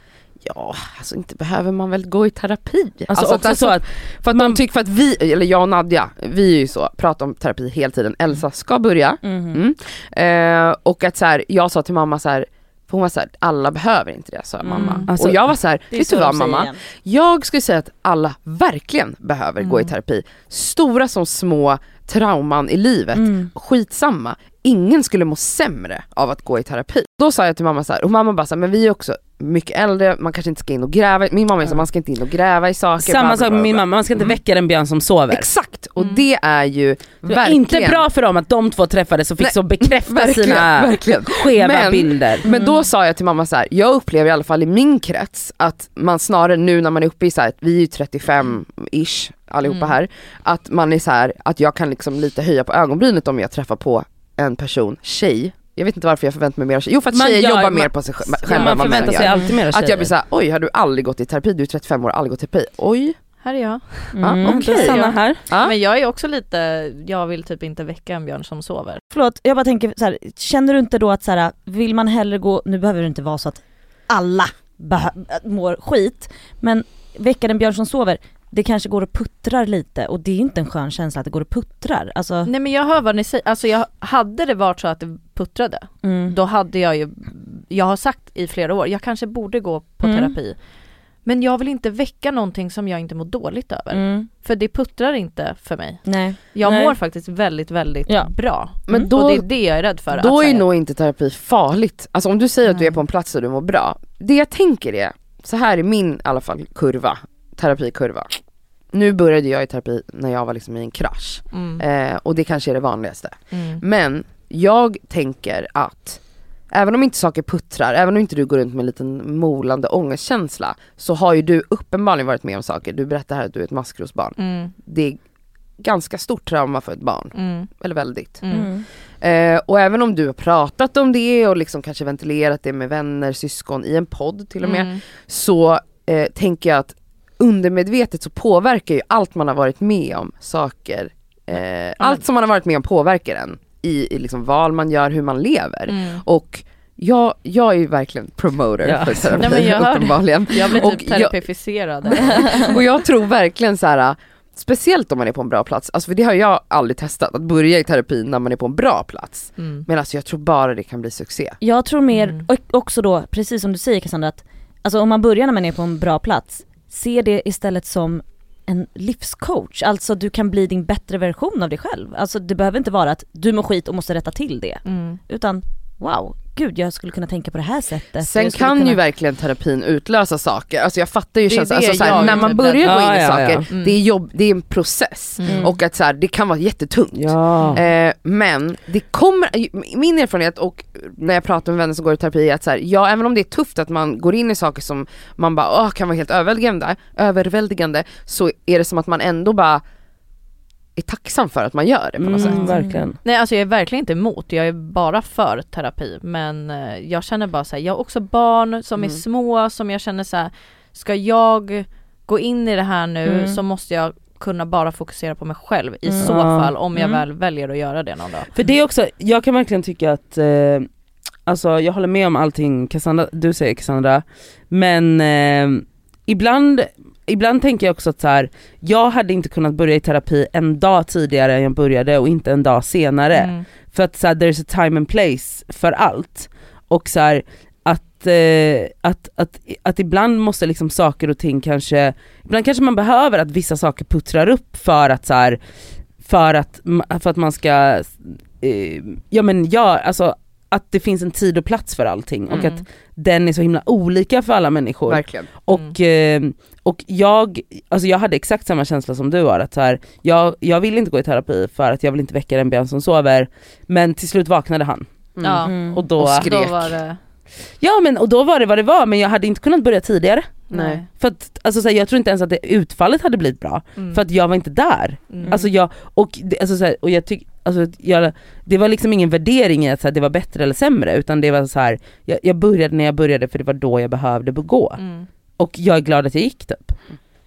A: Ja, alltså inte behöver man väl gå i terapi?
B: Alltså, också
A: att-
B: så att,
A: för att de tycker, för att vi, eller jag och Nadja, vi är ju så, pratar om terapi hela tiden. Elsa ska börja.
C: Mm.
A: Mm. Eh, och att så här, jag sa till mamma så här, för hon var så här, alla behöver inte det sa mamma.
B: Alltså,
A: och jag var så här,
C: Mm. Det är
A: vet
C: så
A: du
C: de
A: vad
C: säger
A: mamma?
C: igen.
A: Jag skulle säga att alla verkligen behöver gå i
C: Mm.
A: terapi. Stora som små trauman i livet,
C: Mm.
A: skitsamma. Ingen skulle må sämre av att gå i terapi. Då sa jag till mamma så här, och mamma bara så här, men vi är också mycket äldre, man kanske inte ska in och gräva. Min mamma är så här, man ska inte in och gräva i saker. bla,
B: Mm. samma
A: bla,
B: sak
A: bla,
B: med min
A: bla.
B: mamma, man ska inte väcka den björn som sover.
A: Exakt, och det är ju
B: Det var
A: verkligen...
B: inte bra för dem att de två träffades och fick
A: Nej,
B: så bekräfta
A: verkligen,
B: sina
A: verkligen.
B: skeva
A: Men-
B: bilder.
A: Men då sa jag till mamma så här, jag upplever i alla fall i min krets att man snarare nu när man är uppe i så här, vi är ju 35-ish allihopa
D: Mm.
A: här, att man är så här, att jag kan liksom lite höja på ögonbrynet om jag träffar på en person, tjej, jag vet inte varför jag förväntar mig mer av tjejer, jo för att
B: Man
A: tjejer
B: gör-
A: jobbar
B: man-
A: mer på sig sj-
B: Ja,
A: själva än
B: man
A: vad män
B: förväntar sig
A: gör.
B: alltid mer av
A: Att jag blir
B: tjejer.
A: såhär, oj har du aldrig gått i terapi? Du är 35 år och har aldrig gått i terapi. Oj,
D: Här är jag.
A: ja,
C: Mm.
A: okej.
B: Sanna här.
A: Ja.
D: Men jag är också lite, jag vill typ inte väcka en björn som sover.
C: Förlåt, jag bara tänker så här, känner du inte då att så här, vill man hellre gå, nu behöver det inte vara så att alla behö- mår skit, men väcka den björn som sover, det kanske går och puttrar lite och det är inte en skön känsla att det går och puttrar. Alltså,
D: Nej men jag hör vad ni säger, alltså jag, hade det varit så att det puttrade,
C: mm.
D: då hade jag ju, jag har sagt i flera år, jag kanske borde gå på
C: Mm.
D: terapi. Men jag vill inte väcka någonting som jag inte mår dåligt över.
C: Mm.
D: För det puttrar inte för mig.
C: Nej.
D: Jag
B: Nej.
D: mår faktiskt väldigt, väldigt
C: Ja.
D: bra.
A: Men
C: Mm.
A: då,
D: och det är det jag är rädd för.
A: då
D: att
A: är
D: säga.
A: nog inte terapi farligt. Alltså om du säger att du är
D: Nej.
A: på en plats där du mår bra. Det jag tänker är, så här är min i alla fall kurva, terapikurva. nu började jag i terapi när jag var liksom i en krasch.
D: Mm.
A: Eh, och det kanske är det vanligaste.
D: Mm.
A: Men jag tänker att även om inte saker puttrar, även om inte du går runt med en liten molande ångestkänsla så har ju du uppenbarligen varit med om saker. Du berättar här att du är ett maskrosbarn.
D: Mm.
A: Det är ganska stort trauma för ett barn,
D: Mm.
A: eller väldigt.
D: Mm.
A: Eh, och även om du har pratat om det och liksom kanske ventilerat det med vänner, syskon i en podd till och med
D: Mm.
A: så eh, tänker jag att undermedvetet så påverkar ju allt man har varit med om saker, eh, allt som man har varit med om påverkar en i, i liksom val man gör, hur man lever.
D: Mm.
A: Och jag, jag är ju verkligen promoter
B: Ja.
A: för terapi
D: Nej, men jag hör det.
A: uppenbarligen.
D: Jag blir
A: Och
D: typ
A: jag-
D: terapificerad.
A: Och jag tror verkligen så här. Speciellt om man är på en bra plats, alltså för det har jag aldrig testat, att börja i terapi när man är på en bra plats.
D: Mm.
A: Men alltså jag tror bara det kan bli succé.
C: Jag tror mer,
D: Mm.
C: och också då, precis som du säger Cassandra, att alltså om man börjar när man är på en bra plats, se det istället som en livscoach. Alltså du kan bli din bättre version av dig själv. Alltså det behöver inte vara att du mår skit och måste rätta till det.
D: Mm.
C: Utan wow, gud jag skulle kunna tänka på det här sättet.
A: Sen
C: Jag skulle
A: kan
C: kunna...
A: ju verkligen terapin utlösa saker, alltså jag fattar ju
D: Det är
A: känslan,
D: det
A: alltså, så här,
D: jag
A: när man
D: typ
A: börjar
B: rädd.
A: gå in
B: Ja,
A: i
B: ja,
A: saker,
B: ja.
D: Mm.
A: det är jobb, det är en process.
D: Mm.
A: Och att så här, det kan vara jättetungt.
B: Ja.
A: Eh, men det kommer, min erfarenhet och när jag pratar med vänner som går i terapi är att så här, ja även om det är tufft att man går in i saker som man bara åh, kan vara helt överväldigande, överväldigande så är det som att man ändå bara är tacksam för att man gör det Eh, på något
B: Mm,
A: sätt.
B: verkligen.
D: Nej alltså jag är verkligen inte emot, jag är bara för terapi men eh, jag känner bara så här, jag har också barn som är
A: Mm.
D: små som jag känner så här, ska jag gå in i det här nu
C: Mm.
D: så måste jag kunna bara fokusera på mig själv i
C: Mm.
D: så
B: Ja.
D: fall om jag
C: Mm.
D: väl väljer att göra det någon dag.
B: För det är också, jag kan verkligen tycka att, eh, alltså jag håller med om allting Cassandra, du säger Cassandra, men eh, ibland, ibland tänker jag också att så här, jag hade inte kunnat börja i terapi en dag tidigare än jag började och inte en dag senare.
D: Mm.
B: För att så här, there's a time and place för allt. Och så här, att, eh, att, att, att ibland måste liksom saker och ting kanske, ibland kanske man behöver att vissa saker puttrar upp för att så här, för att, ma- för att man ska, eh, ja men ja, alltså att det finns en tid och plats för allting och
D: Mm.
B: att den är så himla olika för alla människor.
A: Verkligen.
B: Och,
A: Mm.
B: eh, och jag, alltså jag hade exakt samma känsla som du har, att så här, jag, jag vill inte gå i terapi för att jag vill inte väcka den björn som sover, men till slut vaknade han.
A: Mm.
D: Ja.
C: Mm.
B: Och då,
A: Och skri-
D: Då
A: skrek.
D: var det,
B: ja men och då var det vad det var, men jag hade inte kunnat börja tidigare.
A: Nej.
B: För att, alltså, så här, jag tror inte ens att det, utfallet hade blivit bra,
D: Mm.
B: för att jag var inte där.
D: Mm.
B: Alltså jag, och, det- alltså, så här, och jag tyck, alltså, jag, det var liksom ingen värdering i att så här, det var bättre eller sämre, utan det var så här, jag, jag började när jag började för det var då jag behövde gå.
D: Mm.
B: Och jag är glad att jag gick typ.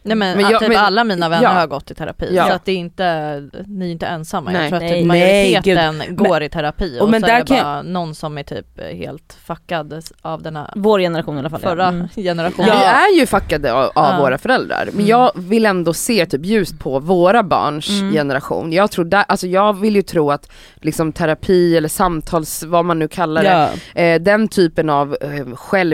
D: Nej men,
A: Men jag-
D: typ
A: men-
D: alla mina vänner
A: ja.
D: har gått i terapi
A: Ja.
D: så att det är inte, ni är inte ensamma.
A: Nej.
D: jag tror att
C: Nej.
D: typ majoriteten går i terapi och,
B: och men
D: sen är det
B: där kan jag-
D: bara någon som är typ helt fuckad av den
A: Mm.
D: här
C: Vår generation i alla fall. ja.
D: förra
C: Mm.
D: generationen.
A: Vi är ju fuckade av, av
D: Ja.
A: våra föräldrar, men
D: Mm.
A: jag vill ändå se typ ljust på våra barns
C: Mm.
A: generation. Jag, tror där, alltså jag vill ju tro att liksom terapi eller samtals, vad man nu kallar det,
B: Ja.
A: eh, den typen av eh,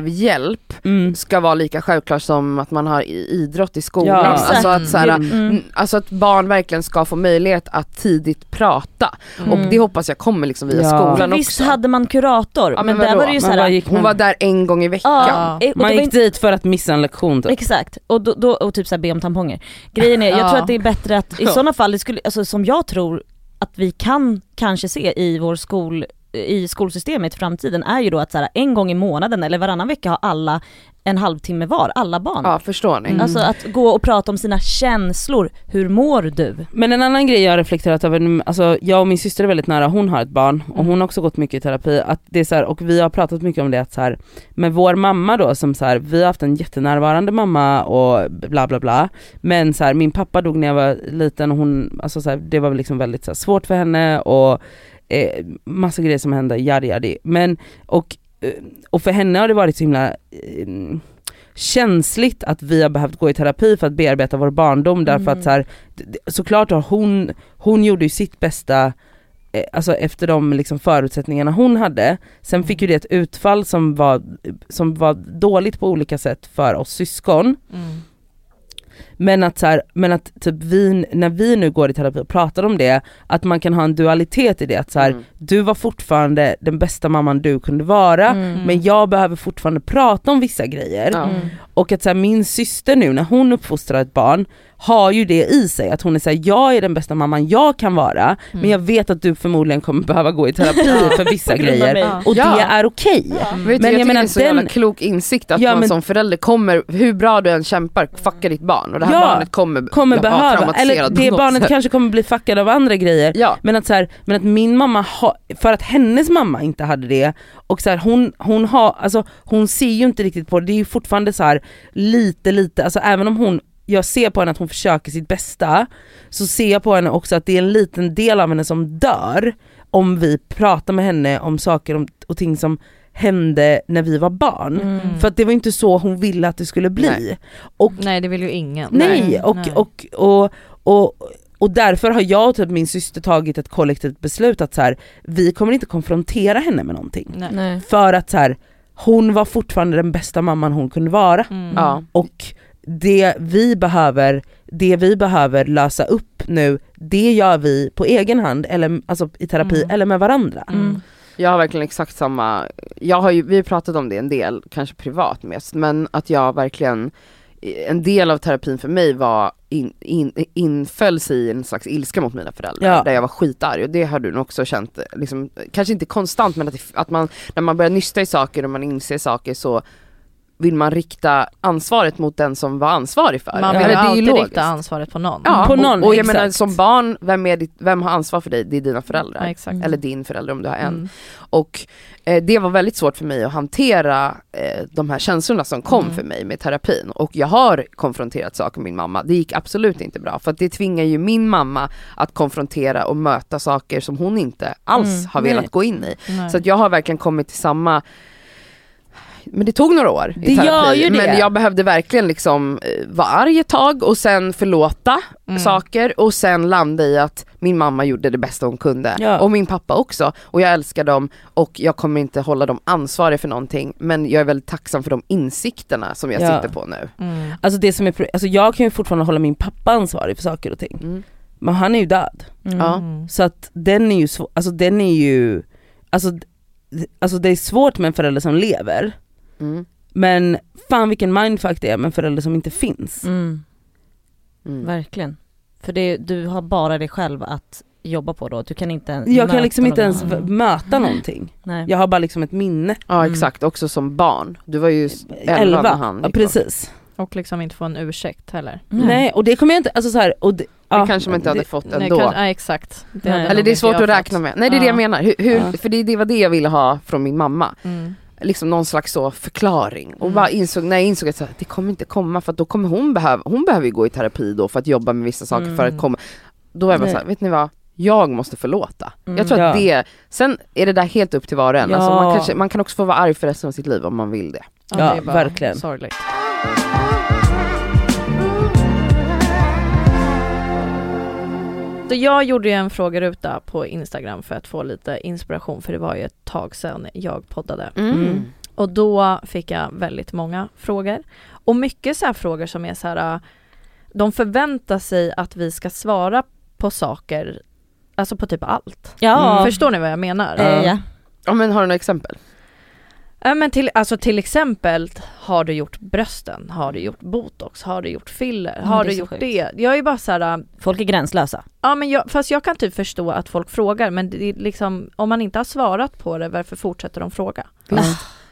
A: självhjälp
B: Mm.
A: ska vara lika självklart som att man har i- idrott i skolan.
B: Ja.
A: Alltså,
D: Exakt.
A: att, så här,
C: Mm.
A: n- alltså att barn verkligen ska få möjlighet att tidigt prata.
D: Mm.
A: Och det hoppas jag kommer liksom via
B: Ja.
A: skolan
C: För visst
A: också.
C: hade man kurator,
A: Ja, men
C: men, där
A: vadå?
C: var det ju
B: Man bara
C: såhär,
B: gick,
A: Hon var där en gång i veckan.
D: Ja.
C: ja, eh, och det
B: man
C: var
B: gick
C: inte-
B: dit för att missa en lektion typ.
C: Exakt, och, då, då, och typ såhär be om tamponger. Grejen är, jag
D: Ja.
C: tror att det är bättre att i sådana fall, det skulle, alltså, som jag tror att vi kan kanske se i vår skol, i skolsystemet i framtiden är ju då att såhär, en gång i månaden eller varannan vecka har alla en halvtimme var, alla barn.
A: Ja, förstår ni?
B: Mm.
C: Alltså att gå och prata om sina känslor, hur mår du?
B: Men en annan grej jag har reflekterat över, nu- alltså jag och min syster är väldigt nära, hon har ett barn
C: Mm.
B: och hon har också gått mycket i terapi. Att det är så här, och vi har pratat mycket om det att så här, med vår mamma då som så här, vi har haft en jättenärvarande mamma och bla bla bla. Men så här, min pappa dog när jag var liten och hon, alltså så här, det var väl liksom väldigt så här, svårt för henne och eh, massa grejer som hände, yadi yadi. Men, och, eh, och för henne har det varit så himla eh, känsligt att vi har behövt gå i terapi för att bearbeta vår barndom därför
C: Mm.
B: att så här, d- d- såklart har hon, hon gjorde ju sitt bästa eh, Alltså efter de liksom förutsättningarna hon hade, sen fick ju
A: Mm.
B: det ett utfall som var, som var dåligt på olika sätt för oss syskon.
D: Mm.
B: Men att, så här, men att typ vi, när vi nu går i terapi och pratar om det, att man kan ha en dualitet i det. Att så här,
A: Mm.
B: du var fortfarande den bästa mamman du kunde vara,
C: Mm.
B: men jag behöver fortfarande prata om vissa grejer.
A: Ja.
C: Mm.
B: Och att så här, min syster nu när hon uppfostrar ett barn har ju det i sig att hon är såhär, jag är den bästa mamman jag kan vara
C: Mm.
B: men jag vet att du förmodligen kommer behöva gå i terapi för vissa
C: grund av
B: grejer.
C: mig.
D: Ja.
B: Och
A: Ja.
B: det är okej.
A: Vet du, jag,
B: jag
A: tycker
B: menar
A: det är så
B: den-
A: jävla klok insikt att
B: Ja,
A: man
B: men-
A: som förälder kommer, hur bra du än kämpar, fucka ditt barn och det här
B: Ja,
A: barnet kommer,
B: Kommer
A: vara
B: behöva,
A: traumatiserat
B: eller
A: på
B: det
A: något
B: barnet
A: sätt.
B: kanske kommer bli fuckad av andra grejer.
A: Ja,
B: Men att, så här, men att min mamma, ha, för att hennes mamma inte hade det, och så här, hon, hon, har alltså, hon ser ju inte riktigt på det, det är ju fortfarande så här lite lite, alltså även om hon, jag ser på henne att hon försöker sitt bästa, så ser jag på henne också att det är en liten del av henne som dör om vi pratar med henne om saker om, och ting som hände när vi var barn.
C: Mm.
B: För att det var inte så hon ville att det skulle bli.
A: Nej.
B: Och
D: Nej det vill ju ingen.
B: Nej, och,
D: nej.
B: Och, och, och, och därför har jag och typ min syster tagit ett kollektivt beslut att så här, vi kommer inte konfrontera henne med någonting.
D: Nej.
A: Mm.
C: Nej.
B: För att så här, hon var fortfarande den bästa mamman hon kunde vara.
D: Mm.
A: ja.
B: Och det vi behöver, det vi behöver lösa upp nu, det gör vi på egen hand, eller, alltså i terapi
D: Mm.
B: eller med varandra.
D: Mm.
A: Jag har verkligen exakt samma, jag har ju, vi har pratat om det en del, kanske privat mest, men att jag verkligen, en del av terapin för mig var, in, in, inföll sig i en slags ilska mot mina föräldrar,
B: Ja.
A: där jag var skitarg och det har du nog också känt, liksom, kanske inte konstant men att, det- att man, när man börjar nysta i saker och man inser saker så vill man rikta ansvaret mot den som var ansvarig för
D: Man
A: det.
D: vill
A: Eller det
D: ju
A: är ju
D: alltid
A: logiskt.
D: rikta ansvaret på någon.
A: Ja,
B: På
A: och,
B: någon,
A: och jag menar
B: exakt.
A: som barn, vem, är ditt, vem har ansvar för dig? Det är dina föräldrar.
D: Ja, exakt.
A: Eller din förälder om du har en.
D: Mm.
A: Och eh, det var väldigt svårt för mig att hantera eh, de här känslorna som kom
D: Mm.
A: för mig med terapin. Och jag har konfronterat saker med min mamma, det gick absolut inte bra. För att det tvingar ju min mamma att konfrontera och möta saker som hon inte alls
C: Mm,
A: har velat
B: nej.
A: gå in i.
D: Nej.
A: Så att jag har verkligen kommit till samma men det tog några år i
B: Det gör ju det.
A: men jag behövde verkligen liksom eh, vara arg ett tag och sen förlåta
D: Mm.
A: saker och sen landa i att min mamma gjorde det bästa hon kunde
B: Ja.
A: och min pappa också och jag älskar dem och jag kommer inte hålla dem ansvariga för någonting men jag är väldigt tacksam för de insikterna som jag
B: Ja.
A: sitter på nu.
D: Mm.
B: Alltså det som är, pro- alltså jag kan ju fortfarande hålla min pappa ansvarig för saker och ting,
A: Mm.
B: men han är ju död.
C: Mm.
A: Ja.
D: Mm.
B: Så att den är ju svår, alltså den är ju, alltså, d- alltså det är svårt med en förälder som lever,
A: Mm.
B: men fan vilken mindfuck det är med en förälder som inte finns.
C: Mm.
A: Mm.
C: Verkligen. För det, du har bara dig själv att jobba på då, du kan inte ens
B: Jag kan
C: möta
B: liksom inte
C: någon
B: ens v-
C: annan.
B: möta någonting.
C: Nej.
B: Jag har bara liksom ett minne.
A: Ja
C: Mm.
A: exakt, också som barn. Du var ju s- elva när han
B: Elva, ja,
A: gick bort.
B: precis.
D: Och liksom inte få en ursäkt heller.
C: Mm.
B: Nej och det kommer jag inte, alltså så här, och det,
A: Det
B: ja,
A: kanske man inte hade fått
D: Nej,
A: ändå.
D: kan, nej exakt.
C: Nej.
D: hade
A: Eller
D: nog
A: det är
D: inte
A: svårt
D: jag
A: att
D: fått.
A: räkna med. Nej det är
D: Ja.
A: det jag menar, hur, hur,
B: Ja.
A: för det, det var det jag ville ha från min mamma.
D: Mm.
A: Liksom någon slags så förklaring. Och
D: Mm.
A: bara insåg, när jag insåg att så här, det kommer inte komma för att då kommer hon behöva, hon behöver ju gå i terapi då för att jobba med vissa saker för att
D: Mm.
A: komma. Då var jag bara
B: Nej.
A: såhär, vet ni vad? Jag måste förlåta.
C: Mm.
A: Jag tror att
B: Ja.
A: det, sen är det där helt upp till var och en. Alltså
B: Ja.
A: man, kanske, man kan också få vara arg för resten av sitt liv om man vill det.
B: Ja,
D: det är bara
B: verkligen.
D: Sorgligt. Så jag gjorde ju en frågeruta på Instagram för att få lite inspiration för det var ju ett tag sedan jag poddade.
B: Mm.
D: Och då fick jag väldigt många frågor. Och mycket så här frågor som är så här, äh, de förväntar sig att vi ska svara på saker, alltså på typ allt.
B: Mm.
C: Ja.
D: Förstår ni vad jag menar?
C: Eh, ja.
A: Ja men har du några exempel?
D: Ja, men till, alltså till exempel, har du gjort brösten? Har du gjort botox? Har du gjort filler?
C: Ja,
D: Har
C: det är
D: du
C: så
D: gjort
C: sjukt.
D: det? Jag är bara så här, äh,
C: Folk är gränslösa.
D: ja men jag, fast jag kan typ förstå att folk frågar men det är liksom, om man inte har svarat på det, varför fortsätter de fråga?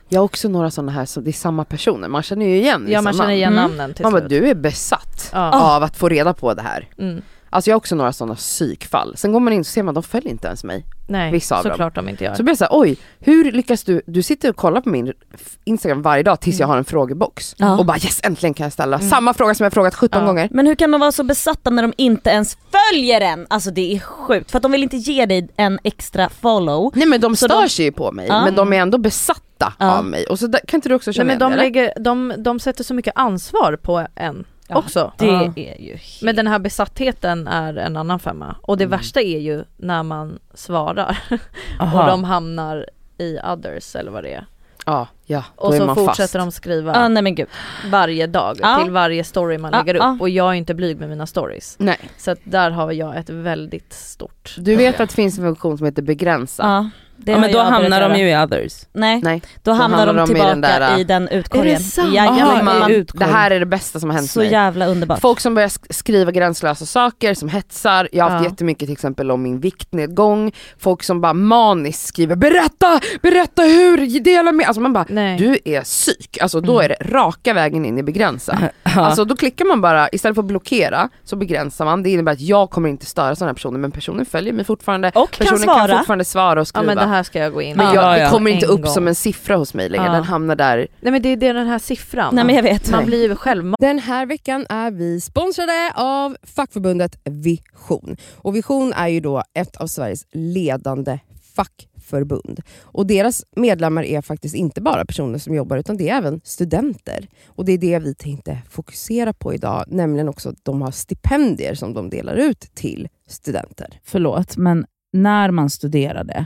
A: Jag har också några sådana här, som det är samma personer, man känner ju igen
D: Ja man
A: vissa
D: känner
A: namn.
D: igen
C: Mm.
D: namnen till
A: Man bara,
D: slut.
A: du är besatt
D: Ja.
A: av att få reda på det här.
D: Mm.
A: Alltså jag har också några sådana psykfall. Sen går man in så ser man, de följer inte ens mig.
D: Nej,
A: Vissa av dem.
D: såklart de inte gör.
A: Så blir jag såhär, oj, hur lyckas du, du sitter och kollar på min f- Instagram varje dag tills jag har en frågebox.
C: Ja.
A: Och bara yes, äntligen kan jag ställa samma fråga som jag frågat 17
D: Ja.
A: gånger.
C: Men hur kan de vara så besatta när de inte ens följer en? Alltså det är sjukt, för att de vill inte ge dig en extra follow.
A: Nej men de
C: Så
A: stör
C: de-
A: sig ju på mig,
C: Ja.
A: men de är ändå besatta
C: Ja.
A: av mig. Och så där, kan inte du också
D: Nej,
A: känna
D: men de,
A: igen det, eller?
D: lägger, de, de sätter så mycket ansvar på en
C: Ja,
D: också.
C: Det
B: Ja.
C: är ju helt...
D: Men den här besattheten är en annan femma. Och det
A: Mm.
D: värsta är ju när man svarar
B: Aha.
D: och de hamnar i others eller vad det är.
A: Ja, ja, då
D: Och
A: är
D: så
A: man
D: fortsätter
A: fast.
D: de skriva
C: Ja Ah, nej men gud.
D: varje dag
C: Ja.
D: till varje story man
C: Ja,
D: lägger upp
C: ja.
D: och jag är inte blyg med mina stories.
A: Nej,
D: Så att där har jag ett väldigt stort
A: du vet
D: problem.
A: att det finns en funktion som heter begränsa.
C: Ja, det
B: Ja
C: har
B: men då
C: jag börjat
B: hamnar
C: göra.
B: de ju i others.
C: Nej,
A: Nej,
C: då, hamnar de,
A: i den
C: tillbaka i den,
A: där, äh,
C: utkorgen.
A: Är det sant?
C: Jajamän,
B: Aha,
A: man,
B: i
C: man,
B: utkorgen.
A: Det här är det bästa som har hänt
C: så
A: mig.
C: jävla underbart.
A: Folk som börjar sk- skriva gränslösa saker, som hetsar, jag har haft
D: Ja.
A: jättemycket till exempel om min viktnedgång, folk som bara maniskt skriver berätta, berätta hur, dela med, alltså man bara
D: Nej.
A: du är psyk, alltså då
D: Mm.
A: är det raka vägen in i begränsa.
B: Ja.
A: Alltså då klickar man bara, istället för att blockera så begränsar man, det innebär att jag kommer inte störa sådana här personer men personen följer mig fortfarande,
C: och kan
A: personen
C: svara.
A: kan fortfarande svara och
D: Ja
A: skriva.
D: men det här ska jag gå in
A: Men
D: i.
A: jag,
B: Ja,
A: det
B: ja.
A: kommer inte
D: En
A: upp
D: gång.
A: som en siffra hos mig längre,
D: Ja.
A: den hamnar där
D: Nej men det är det är den här siffran.
C: Nej men jag vet.
D: Man blir ju själv
E: Den här veckan är vi sponsrade av fackförbundet Vision. Och Vision är ju då ett av Sveriges ledande fackförbund. Och deras medlemmar är faktiskt inte bara personer som jobbar utan det är även studenter. Och det är det vi tänkte fokusera på idag, nämligen också att de har stipendier som de delar ut till studenter.
B: förlåt, men när man studerade,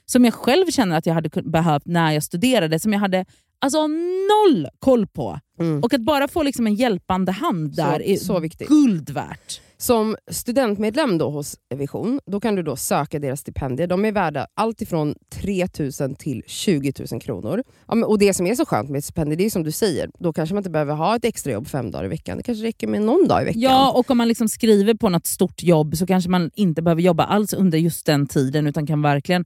B: som jag själv känner att jag hade kun- behövt när jag studerade, som jag hade alltså, noll koll på.
E: Mm.
B: Och att bara få liksom en hjälpande hand där
E: Så,
B: är
E: så viktigt.
B: guld värt.
E: Som studentmedlem då hos Vision då kan du då söka deras stipendier. De är värda allt ifrån 3 000 till 20 000 kronor. Ja, men, och Det som är så skönt med ett stipendium det är som du säger, då kanske man inte behöver ha ett extrajobb fem dagar i veckan. Det kanske räcker med någon dag i veckan.
B: Ja, och om man liksom skriver på något stort jobb så kanske man inte behöver jobba alls under just den tiden utan kan verkligen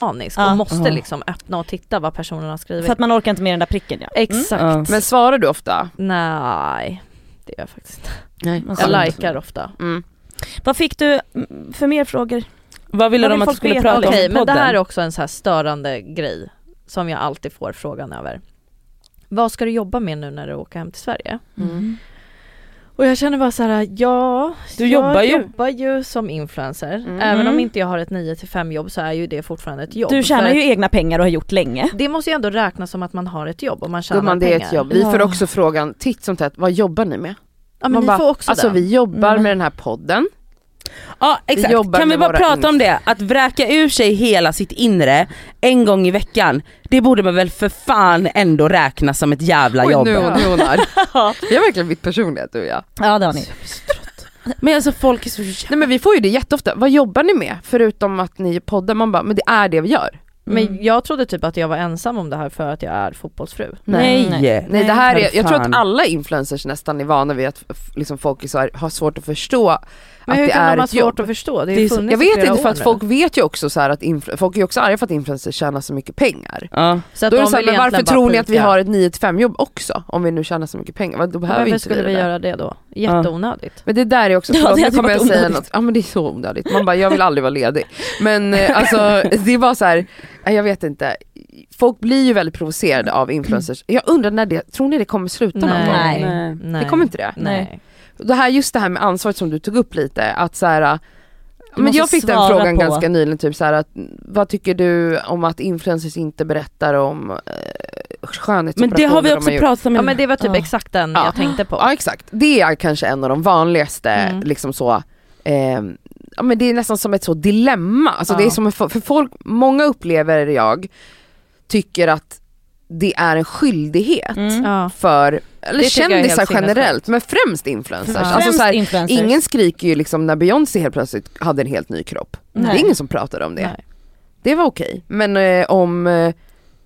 D: manisk
C: Ja.
D: och måste
B: Ja.
D: liksom öppna och titta vad personen har skrivit.
C: För att man orkar inte med den där pricken ja. Mm.
D: Exakt.
A: Men svarar du ofta?
D: Nej, det gör jag faktiskt inte.
A: Nej.
C: Vad
D: Jag
C: skönt.
D: likar ofta.
A: Mm.
C: Vad fick du mm, för mer frågor?
B: Vad ville
C: Vad
B: de
C: vill
B: att du
C: folk
B: skulle
C: veta?
B: prata
D: Okej,
B: om
D: men
B: i
D: det
B: podden?
D: här är också en så här störande grej som jag alltid får frågan över. Vad ska du jobba med nu när du åker hem till Sverige?
B: Mm.
D: Och jag känner bara så här, ja,
B: Du
D: jag
B: jobbar ju.
D: jobbar ju som influencer.
A: Mm.
D: Även om inte jag har ett 9 till 5 jobb så är ju det fortfarande ett jobb.
C: Du tjänar
D: För
C: ju egna pengar och har gjort länge.
D: Det måste ju ändå räknas som att man har ett jobb om man tjänar
A: Gumman det är
D: pengar.
A: ett jobb. Vi
C: Ja.
A: får också frågan titt som tätt, vad jobbar ni med?
D: Ja men
A: Man
D: ni
A: bara,
D: får också
A: Alltså
D: den.
A: vi jobbar
C: Mm.
A: med den här podden.
B: Ja
A: Vi
B: exakt,
A: jobbar
B: kan vi
A: med
B: bara
A: våra
B: prata
A: inre.
B: om det? Att vräka ur sig hela sitt inre en gång i veckan, det borde man väl för fan ändå räkna som ett jävla
A: Oj,
B: jobb.
A: nu är hon, nu är hon arg. Vi har verkligen bytt personlighet du och jag.
C: Ja det har ni.
B: Men alltså folk är så jävla...
A: Nej men vi får ju det jätteofta, vad jobbar ni med? Förutom att ni poddar, man bara, men det är det vi gör.
D: Men jag trodde typ att jag var ensam om det här för att jag är fotbollsfru.
B: Nej.
C: Nej.
B: Nej.
A: Nej det här är,
B: för
A: jag tror
B: fan.
A: att alla influencers nästan är vana vid att f- liksom folk är så här, har svårt att förstå
D: Men
A: att
D: hur
A: det
D: kan
A: är
D: de ha
A: ett
D: svårt
A: jobb.
D: att förstå? Det,
B: Det
D: har
B: är
D: ju
B: så-
D: funnits
A: Jag
D: i
A: vet
D: flera
A: inte för
D: år
A: att
D: nu.
A: folk vet ju också så här att influ- folk är ju också arga för att influencers tjänar så mycket pengar.
B: Ja.
D: så att
A: Då är det
D: de
A: så här,
D: vill
A: men varför
D: egentligen bara
A: tror ni att vi
D: predika?
A: har ett 9 till 5 jobb också? Om vi nu tjänar så mycket pengar, Vad- då behöver
D: Varför
A: inte
D: skulle
A: det
D: vi
A: där.
D: göra det då? Jätteonödigt.
A: Men det där är också,
C: Ja,
A: förlåt
C: det
A: nu
C: hade
A: kommer jag
C: varit
A: säga
C: onödigt.
A: något, ja men det är så onödigt, man bara jag vill aldrig vara ledig. Men eh, alltså det var så här, nej, jag vet inte, folk blir ju väldigt provocerade av influencers. Jag undrar när det, tror ni det kommer sluta någon gång?
C: Nej.
D: Nej.
A: Det kommer inte det?
D: Nej.
A: Det här, just det här med ansvaret som du tog upp lite, att så här,
C: Du
A: men
C: måste
A: jag fick den
C: svara
A: frågan
C: på.
A: ganska nyligen, typ så här, att, vad tycker du om att influencers inte berättar om eh,
B: Men det
A: skönhetsoperationer
B: har vi
A: de
B: också
A: gjort?
B: pratat om
D: Ja
B: innan.
D: men det var typ
C: Ja.
D: exakt den
A: Ja.
D: jag tänkte på.
A: Ja exakt, det är kanske en av de vanligaste
D: Mm.
A: liksom så ehm, Ja men det är nästan som ett så dilemma, alltså
D: Ja.
A: det är som en fo- för folk, många upplever jag tycker att det är en skyldighet
C: Mm.
D: Ja.
A: för, eller
D: Det tycker jag är helt
A: kändisar
D: sinnessjukt.
A: generellt, men främst influencers.
D: Ja.
A: Alltså så här,
C: influencers.
A: ingen skriker ju liksom när Beyoncé helt plötsligt hade en helt ny kropp.
C: Nej.
A: Det är ingen som pratar om det.
D: Nej.
A: Det var okej, men eh, om eh,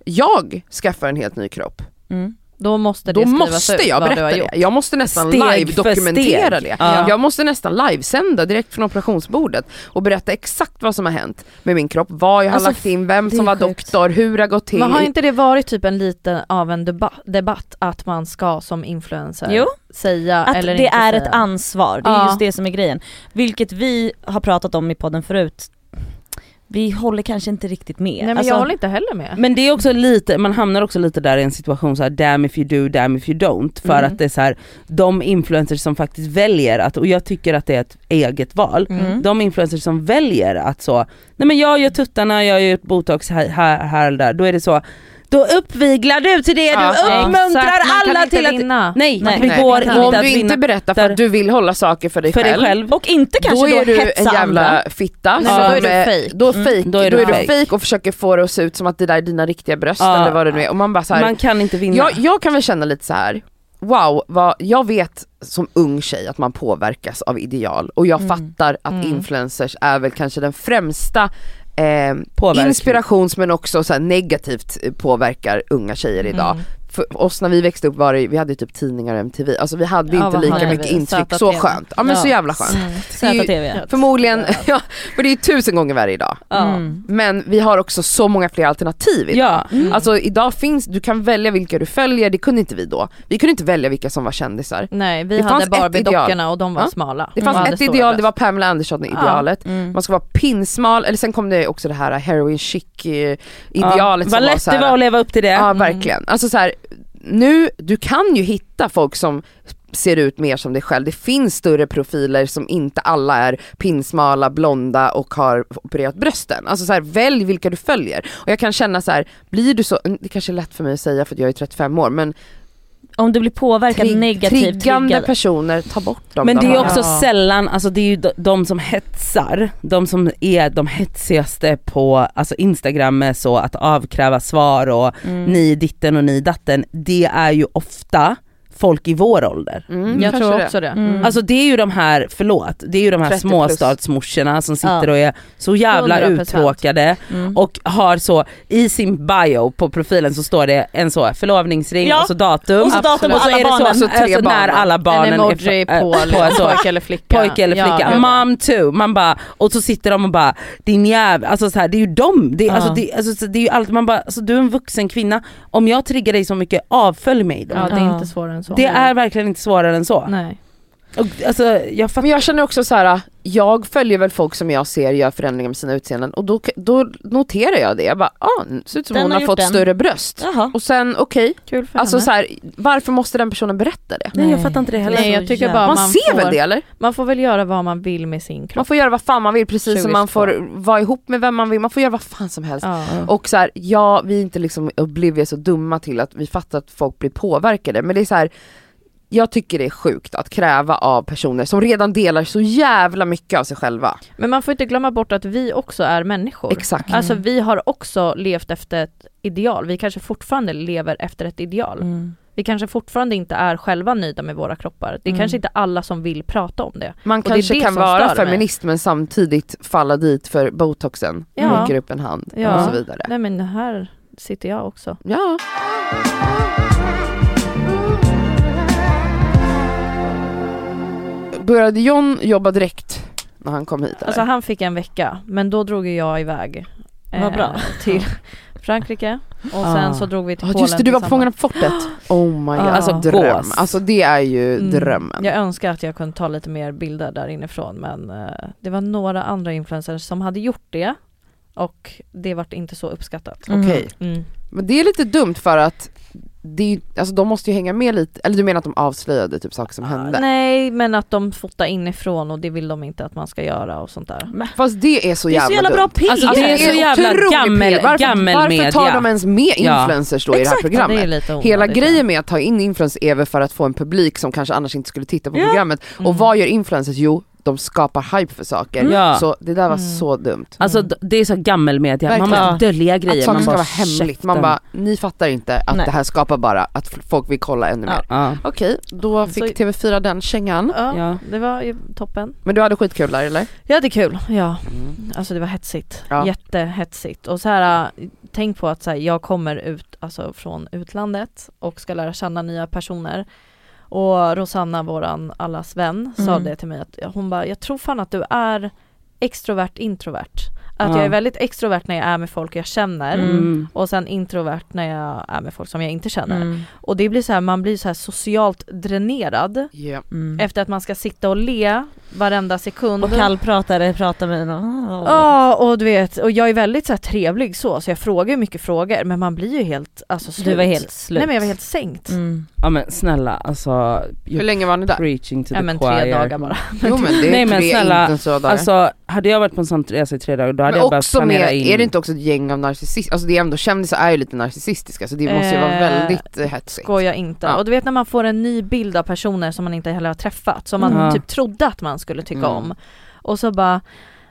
A: jag skaffar en helt ny kropp
C: Mm.
D: Då måste det
A: Då
D: skrivas
A: måste
D: ut
A: jag
D: vad
A: berätta
D: du har
A: det.
D: gjort.
A: Jag måste nästan
B: Steg för
A: live-dokumentera
B: steg.
A: det.
B: Ja.
A: Jag måste nästan livesända direkt från operationsbordet och berätta exakt vad som har hänt med min kropp, vad jag har
C: Alltså,
A: lagt in, vem
C: det
A: som
C: är
A: var
C: sjukt.
A: doktor, hur det har gått till.
D: Men har inte det varit typ en liten av en deba- debatt att man ska som influencer
C: Jo.
D: säga
C: Att
D: eller
C: det
D: inte
C: är
D: säga?
C: ett ansvar, det är
D: Ja.
C: just det som är grejen. Vilket vi har pratat om i podden förut, vi håller kanske inte riktigt med.
D: Nej men
C: Alltså,
D: jag håller inte heller med.
B: Men det är också lite, man hamnar också lite där i en situation så här: damn if you do, damn if you don't. För
D: Mm.
B: att det är så här, de influencers som faktiskt väljer att, och jag tycker att det är ett eget val,
C: Mm.
B: de influencers som väljer att så, nej men jag gör tuttarna, jag gör botox här, här, här och där, då är det så, då uppviglar du till det,
A: Ja,
B: du uppmuntrar
D: Exakt, man kan
B: alla
D: inte
B: till att...
D: vinna.
B: Nej,
C: Nej.
B: det
A: Nej.
B: går
D: Och
A: Och
B: inte
A: om
B: att
A: du inte
B: vinna
A: berättar för att du vill hålla saker för dig
B: för dig
A: själv,
B: själv.
C: Och inte kanske då,
A: då är du en
C: hetsa andra.
A: jävla fitta.
D: Nej,
A: som,
D: men då är du
A: eh,
D: fake.
A: Då, fake,
B: då är
A: då
B: du
A: är du
B: fake.
A: fake och försöker få det att se ut som att det där är dina riktiga bröst
B: Ja.
A: eller vad det nu är. Och man bara så här,
B: Man kan inte vinna.
A: jag, jag kan väl känna lite så här. wow, vad, jag vet som ung tjej att man påverkas av ideal och jag
C: Mm.
A: fattar att
D: Mm.
A: influencers är väl kanske den främsta eh,
B: Påverkar.
A: inspirations men också så här negativt eh, påverkar unga tjejer idag.
D: Mm.
A: För oss när vi växte upp var det, vi hade ju typ tidningar och MTV, alltså vi hade ju
D: Ja,
A: inte
D: vad
A: lika
D: hade
A: mycket
D: vi?
A: intryck,
D: Söta
A: så
D: TV.
A: skönt. Ja men
C: Ja.
A: så jävla skönt. Det är ju-
C: ZTV.
A: Förmodligen, ja, för det är ju tusen gånger värre idag.
D: Ja.
C: Mm.
A: Men vi har också så många fler alternativ idag.
B: Ja.
D: Mm.
A: Alltså idag finns, du kan välja vilka du följer, det kunde inte vi då. Vi kunde inte välja vilka som var kändisar.
D: Nej vi
A: Det
D: hade
A: fanns ett
D: Barbie-dockorna och de var
A: Ja.
D: smala.
A: Det
D: De
B: Mm.
A: fanns
D: hade
A: ett
D: stora
A: ideal, det
D: bröst.
A: var Pamela Andersson i
D: Ja.
A: idealet.
C: Mm.
A: Man ska vara pinsmal, eller sen kom det också det här äh, heroin chic eh, idealet som
B: Vad
A: var
B: lätt
A: så
B: det var
A: här,
B: att leva upp till det.
A: Ja verkligen. Alltså så här, nu, du kan ju hitta folk som ser ut mer som dig själv. Det finns större profiler som inte alla är pinsmala, blonda och har opererat brösten. Alltså så här, välj vilka du följer. Och jag kan känna så här, blir du så, det kanske är lätt för mig att säga för att jag är 35 år men
C: Om du blir påverkad
A: Trigg-
C: negativt,
A: triggande
C: triggad.
A: personer, ta bort dem.
B: Men det
A: de
B: är
A: har-
B: också
D: Ja.
B: sällan, alltså det är ju de, de som hetsar, de som är de hetsigaste på alltså Instagram med så att avkräva svar och
C: Mm.
B: ni ditten och ni datten, det är ju ofta folk i vår ålder.
A: Mm,
D: Jag
A: kanske
D: tror
A: det.
D: också det.
C: Mm.
B: Alltså det är ju de här, förlåt, det är ju de här
A: 30 plus.
B: småstadsmorsorna som sitter
C: Ja.
B: och är så jävla
D: 100%.
B: uttråkade
C: Mm.
B: och har så, i sin bio på profilen så står det en så förlovningsring
C: Ja.
B: och så datum.
C: Och så datum
B: Absolut.
C: på
B: Och så
C: alla
B: är det så,
C: barnen.
B: så
A: Alltså tre
B: alltså, när
A: barn.
B: alla barnen
D: En emoji
B: är
D: på,
B: äh,
D: liksom,
B: så,
D: pojke eller flicka.
B: pojke eller flicka, Mm.
D: Ja,
B: mom too. Man bara, och så sitter de och bara din jävel, alltså så här, det är ju dem. Det, är-
C: Ja.
B: alltså, det, alltså, så det är ju allt, man bara, alltså, du är en vuxen kvinna, om jag triggar dig så mycket, avfölj mig då.
D: ja det
C: Ja.
D: är inte svårare än så.
B: Det är verkligen inte svårare än så.
D: Nej.
B: Och, alltså, jag fattar
A: Men jag känner också så här, jag följer väl folk som jag ser gör förändringar med sina utseenden och då, då noterar jag det. Jag bara, ah, det ser ut som
C: Den
A: hon
C: har
A: har,
C: gjort
A: fått
C: den.
A: större bröst.
C: Jaha.
A: Och sen okej,
D: Kul för
A: alltså
D: henne.
A: så här, varför måste den personen berätta det?
B: Nej, jag fattar inte det heller.
D: Nej, Alltså, jag tycker bara- Ja,
A: Man,
D: man
A: ser
D: får-
A: väl det eller?
D: Man får väl göra vad man vill med sin
A: Man
D: kropp.
A: får göra vad fan man vill precis som man får vara ihop med vem man vill, man får göra vad fan som helst.
D: Ja.
A: Och så här, ja vi är inte liksom oblivious och dumma till att vi fattar att folk blir påverkade men det är så här. Jag tycker det är sjukt att kräva av personer som redan delar så jävla mycket av sig själva.
D: Men man får inte glömma bort att vi också är människor.
A: Exakt.
D: Alltså vi har också levt efter ett ideal. Vi kanske fortfarande lever efter ett ideal.
C: Mm.
D: Vi kanske fortfarande inte är själva nöjda med våra kroppar. Det är
C: Mm.
D: kanske inte alla som vill prata om det.
A: Man
D: det är
A: kanske
D: det
A: kan
D: som
A: vara
D: stör mig.
A: feminist men samtidigt falla dit för botoxen,
D: Ja.
A: räcker upp en hand
D: Ja.
A: och så vidare.
D: Nej men här sitter jag också.
A: Ja. Började John jobba direkt när han kom hit? Eller?
D: Alltså han fick en vecka, men då drog ju jag iväg. eh,
C: Vad bra.
D: Till Frankrike och
B: Ah.
D: sen så drog vi till
A: Ja
D: Polen
A: just det, du var på
D: tillsammans.
A: Fångarna på fortet. Oh my god,
D: Ja.
A: alltså, dröm.
B: Gås.
A: Alltså det är ju
D: Mm.
A: drömmen.
D: Jag önskar att jag kunde ta lite mer bilder där inifrån men eh, det var några andra influencers som hade gjort det och det vart inte så uppskattat.
C: Mm.
A: Okej.
D: Mm.
A: Men det är lite dumt för att det är, ju- alltså, de måste ju hänga med lite, eller du menar att de avslöjade typ saker som hände?
D: Mm. Nej men att de fotar inifrån och det vill de inte att man ska göra och sånt där.
A: Fast det är så
C: Det är
A: jävla
C: så jävla bra
A: dumt.
C: piller!
B: Alltså, det är så jävla
A: otrolig
B: gammel-
A: PR. varför,
B: gammel
A: varför tar
B: media.
A: de ens med
B: Ja.
A: influencers då i det här
C: Exakt,
D: Ja,
A: programmet?
D: det är lite onödigt.
A: Hela grejen med att ta in influencers är väl för att få en publik som kanske annars inte skulle titta på
C: Ja.
A: programmet.
D: Mm.
A: Och vad gör influencers? Jo, de skapar hype för saker.
B: Mm. Ja.
A: Så det där var
D: Mm.
A: så dumt.
B: Alltså d- det är så gammelmedia, man
A: Verkligen.
B: måste dölja
A: att
B: grejer.
A: saker
B: Man
A: ska
B: bara,
A: vara hemligt. Man
B: käften.
A: bara, ni fattar inte att
C: Nej.
A: det här skapar bara att f- folk vill kolla ännu
C: Ja.
A: mer.
B: ja.
A: Okej, då
D: Så-
A: fick TV4 den kängan.
D: Ja,
B: Ja.
D: det var ju toppen.
A: Men du hade skitkul där eller?
B: Mm.
D: Jag hade kul, ja. Alltså det var hetsigt.
A: Ja.
D: Jättehetsigt. Och så här, äh, tänk på att så här, jag kommer ut alltså, från utlandet och ska lära känna nya personer. Och Rosanna, våran allas vän, sa
C: Mm.
D: det till mig att hon bara, jag tror fan att du är extrovert introvert. Att
B: Ja.
D: jag är väldigt extrovert när jag är med folk jag känner
B: Mm.
D: och sen introvert när jag är med folk som jag inte känner.
C: Mm.
D: Och det blir så här, man blir så här socialt dränerad
A: Ja.
C: Mm.
D: efter att man ska sitta och le varenda sekund.
C: Och kallpratare pratar med någon.
D: Ja och du vet, och jag är väldigt så här trevlig så, så jag frågar ju mycket frågor men man blir ju helt alltså slut.
C: Du var helt slut.
D: Nej men jag var helt sänkt.
C: Mm.
B: Ja men snälla alltså,
A: Hur
B: you're
A: länge var ni där?
B: preaching to
D: Ja
B: the
D: men tre
B: choir.
D: dagar bara.
A: Jo men det är
B: Nej, men
A: tre
B: snälla,
A: intensiva dagar.
B: Alltså hade jag varit på en sån resa i tre dagar då hade
A: men
B: jag bara
A: också
B: planerat
A: med,
B: in.
A: är det inte också ett gäng av narcissister? Alltså det är ändå, kändisar är ju lite narcissistiska så det måste ju vara
D: Eh,
A: väldigt eh, hetsigt.
D: Går jag inte.
A: Ja.
D: Och du vet när man får en ny bild av personer som man inte heller har träffat, som man
B: Mm.
D: typ trodde att man skulle tycka
A: Mm.
D: om. Och så bara,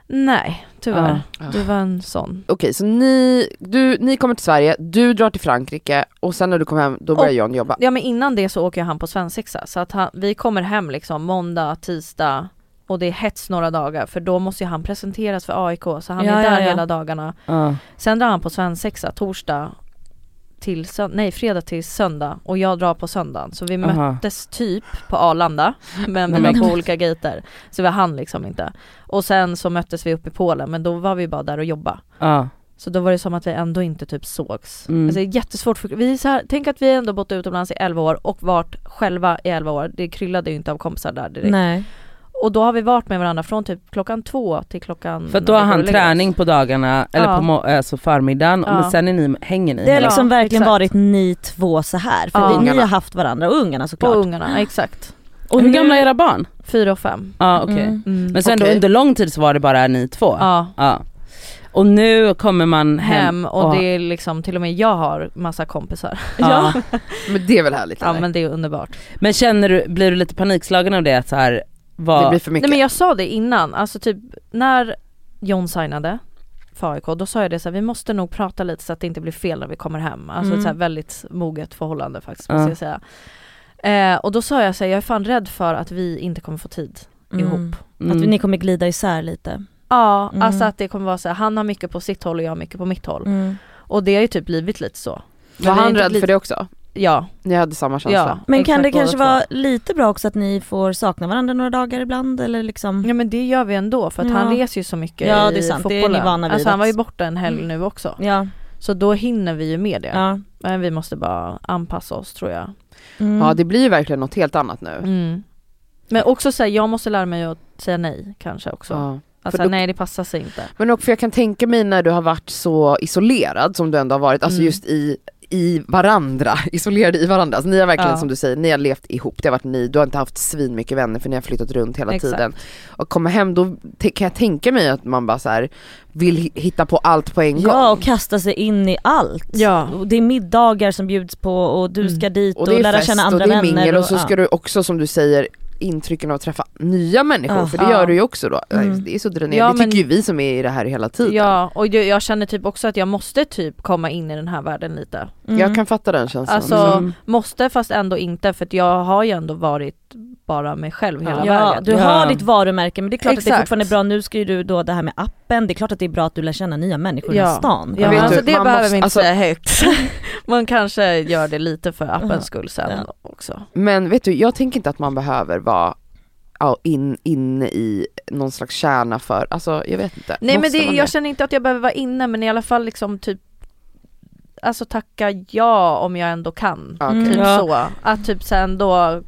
D: nej tyvärr,
A: Ja.
D: du var en sån.
A: Okej så ni, du, ni kommer till Sverige, du drar till Frankrike och sen när du kommer hem då börjar
D: Och-
A: John jobba.
D: Ja men innan det så åker jag han på svensexa så att han, vi kommer hem liksom måndag, tisdag och det är hets några dagar för då måste ju han presenteras för AIK så han
C: Ja,
D: är
C: ja,
D: där
C: ja.
D: hela dagarna.
B: Ja.
D: Sen drar han på svensexa torsdag till sö- nej fredag till söndag och jag drar på söndagen så vi
B: Aha.
D: möttes typ på Arlanda men vi
B: Nej, men
D: var på olika gater så vi hann liksom inte. Och sen så möttes vi uppe i Polen men då var vi bara där och jobba.
B: Ja.
D: Så då var det som att vi ändå inte typ sågs.
B: Mm.
D: Alltså, det är jättesvårt för, vi är så här, tänk att vi ändå bott utomlands i 11 år och varit själva i 11 år. Det kryllade ju inte av kompisar där direkt.
C: Nej.
D: Och då har vi varit med varandra från typ klockan två till klockan...
B: För att då
D: när
B: har
D: vi går
B: han
D: och Mm, lägger oss.
B: träning på dagarna, eller
D: Ja.
B: på må- alltså förmiddagen,
D: Ja.
B: men sen är ni, hänger
C: Det
B: ni
C: har
D: Ja,
B: hela-
C: liksom verkligen
D: exakt.
C: varit ni två så här för
D: Ja.
C: vi, ni
A: Ungarna.
C: har haft varandra och ungarna såklart.
D: Och ungarna, exakt.
B: Och hur gamla är era barn?
D: Fyra och fem.
B: Ja okej.
C: Mm.
D: Mm.
B: Men sen då
A: Okej.
B: under lång tid så var det bara ni två?
D: ja,
B: Ja. Och nu kommer man hem,
D: hem och
B: Ja.
D: det är liksom till och med jag har massa kompisar.
B: Ja.
A: Men det är väl härligt?
D: Ja
A: eller?
D: men det är underbart.
B: Men känner du, blir du lite panikslagen av det? Att så här, vad,
A: Det blir för mycket.
D: Nej men jag sa det innan, alltså typ när John signade för AIK, då sa jag det så här, vi måste nog prata lite så att det inte blir fel när vi kommer hem. Alltså
C: Mm.
D: ett så här väldigt moget förhållande faktiskt
B: Ja.
D: måste jag säga. Eh, och då sa jag så här, jag är fan rädd för att vi inte kommer få tid ihop.
B: Mm.
C: Att ni kommer glida isär lite.
D: Ja,
C: Mm.
D: alltså att det kommer vara så här, han har mycket på sitt håll och jag har mycket på mitt håll. Och det har ju typ blivit lite så.
A: var
D: vi är
A: han
D: inte
A: rädd
D: lite-
A: för det också?
D: Ja,
A: Ni hade samma känsla?
D: ja.
C: Men kan
D: exakt
C: det
D: båda
C: kanske
D: två.
C: vara lite bra också att ni får sakna varandra några dagar ibland eller liksom?
D: Ja men det gör vi ändå för att
C: Ja.
D: han reser ju så mycket
C: Ja, det är
D: i
C: sant. Det är ni
D: fotbollen.
C: vana vid
D: alltså han
C: att-
D: var ju borta en helg nu också.
C: Ja.
D: Så då hinner vi ju med det.
C: ja.
D: Men vi måste bara anpassa oss tror jag.
C: Mm.
A: Ja det blir ju verkligen något helt annat
D: Mm,
A: nu.
D: Men också säga, jag måste lära mig att säga nej kanske också.
A: Ja.
D: Alltså
A: för då-
D: nej det passar sig inte.
A: Men också för jag kan tänka mig när du har varit så isolerad som du ändå har varit, alltså
D: Mm.
A: just i, i varandra, isolerade i varandra. Alltså ni har verkligen
D: Ja.
A: som du säger, ni har levt ihop, det har varit ni, du har inte haft svin mycket vänner för ni har flyttat runt hela
D: Exakt.
A: tiden. Och kommer hem då te- kan jag tänka mig att man bara så här vill hi- hitta på allt på en gång.
C: Ja och kasta sig in i allt.
D: Ja.
C: Och det är middagar som bjuds på och du
D: Mm.
C: ska dit och,
A: och det är
C: lära
A: fest
C: känna
A: och
C: andra
A: det är
C: vänner.
A: mingel och så ska
C: ja.
A: du också som du säger intrycken av att träffa nya människor,
C: Ja.
A: för det
D: Ja.
A: gör du ju också då.
C: Mm.
A: Nej, Det är så dränerande,
D: Ja,
A: det tycker
D: men-
A: ju vi som är i det här hela
C: typ.
A: tiden.
D: Ja och jag, jag känner typ också att jag måste typ komma in i den här världen lite.
C: Mm.
A: Jag kan fatta den känslan.
D: Alltså,
B: Mm.
D: Måste fast ändå inte för att jag har ju ändå varit bara mig själv hela
C: Mm. Ja,
D: vägen.
C: du
B: Ja.
C: har ditt varumärke men det är klart att det
D: Exakt.
C: fortfarande är bra, nu ska ju du då det här med appen, det är klart att det är bra att du lär känna nya människor i
D: Ja.
C: stan.
A: Jag
D: Ja,
A: vet
D: alltså
A: du,
D: det
A: man
D: behöver
A: måste-
D: vi inte
A: alltså-
D: säga högt. Man kanske gör det lite för
C: Ja.
D: appens skull sen
C: Ja.
D: också.
A: Men vet du, jag tänker inte att man behöver vara ja, in, inne i någon slags kärna för, alltså jag vet inte.
D: Nej men
A: Måste
D: det,
A: man
D: jag känner inte att jag behöver vara inne men i alla fall liksom typ Alltså tacka ja om jag ändå kan.
A: Ja, okej.
D: Typ
C: Mm.
B: Ja.
D: så. Att typ sen då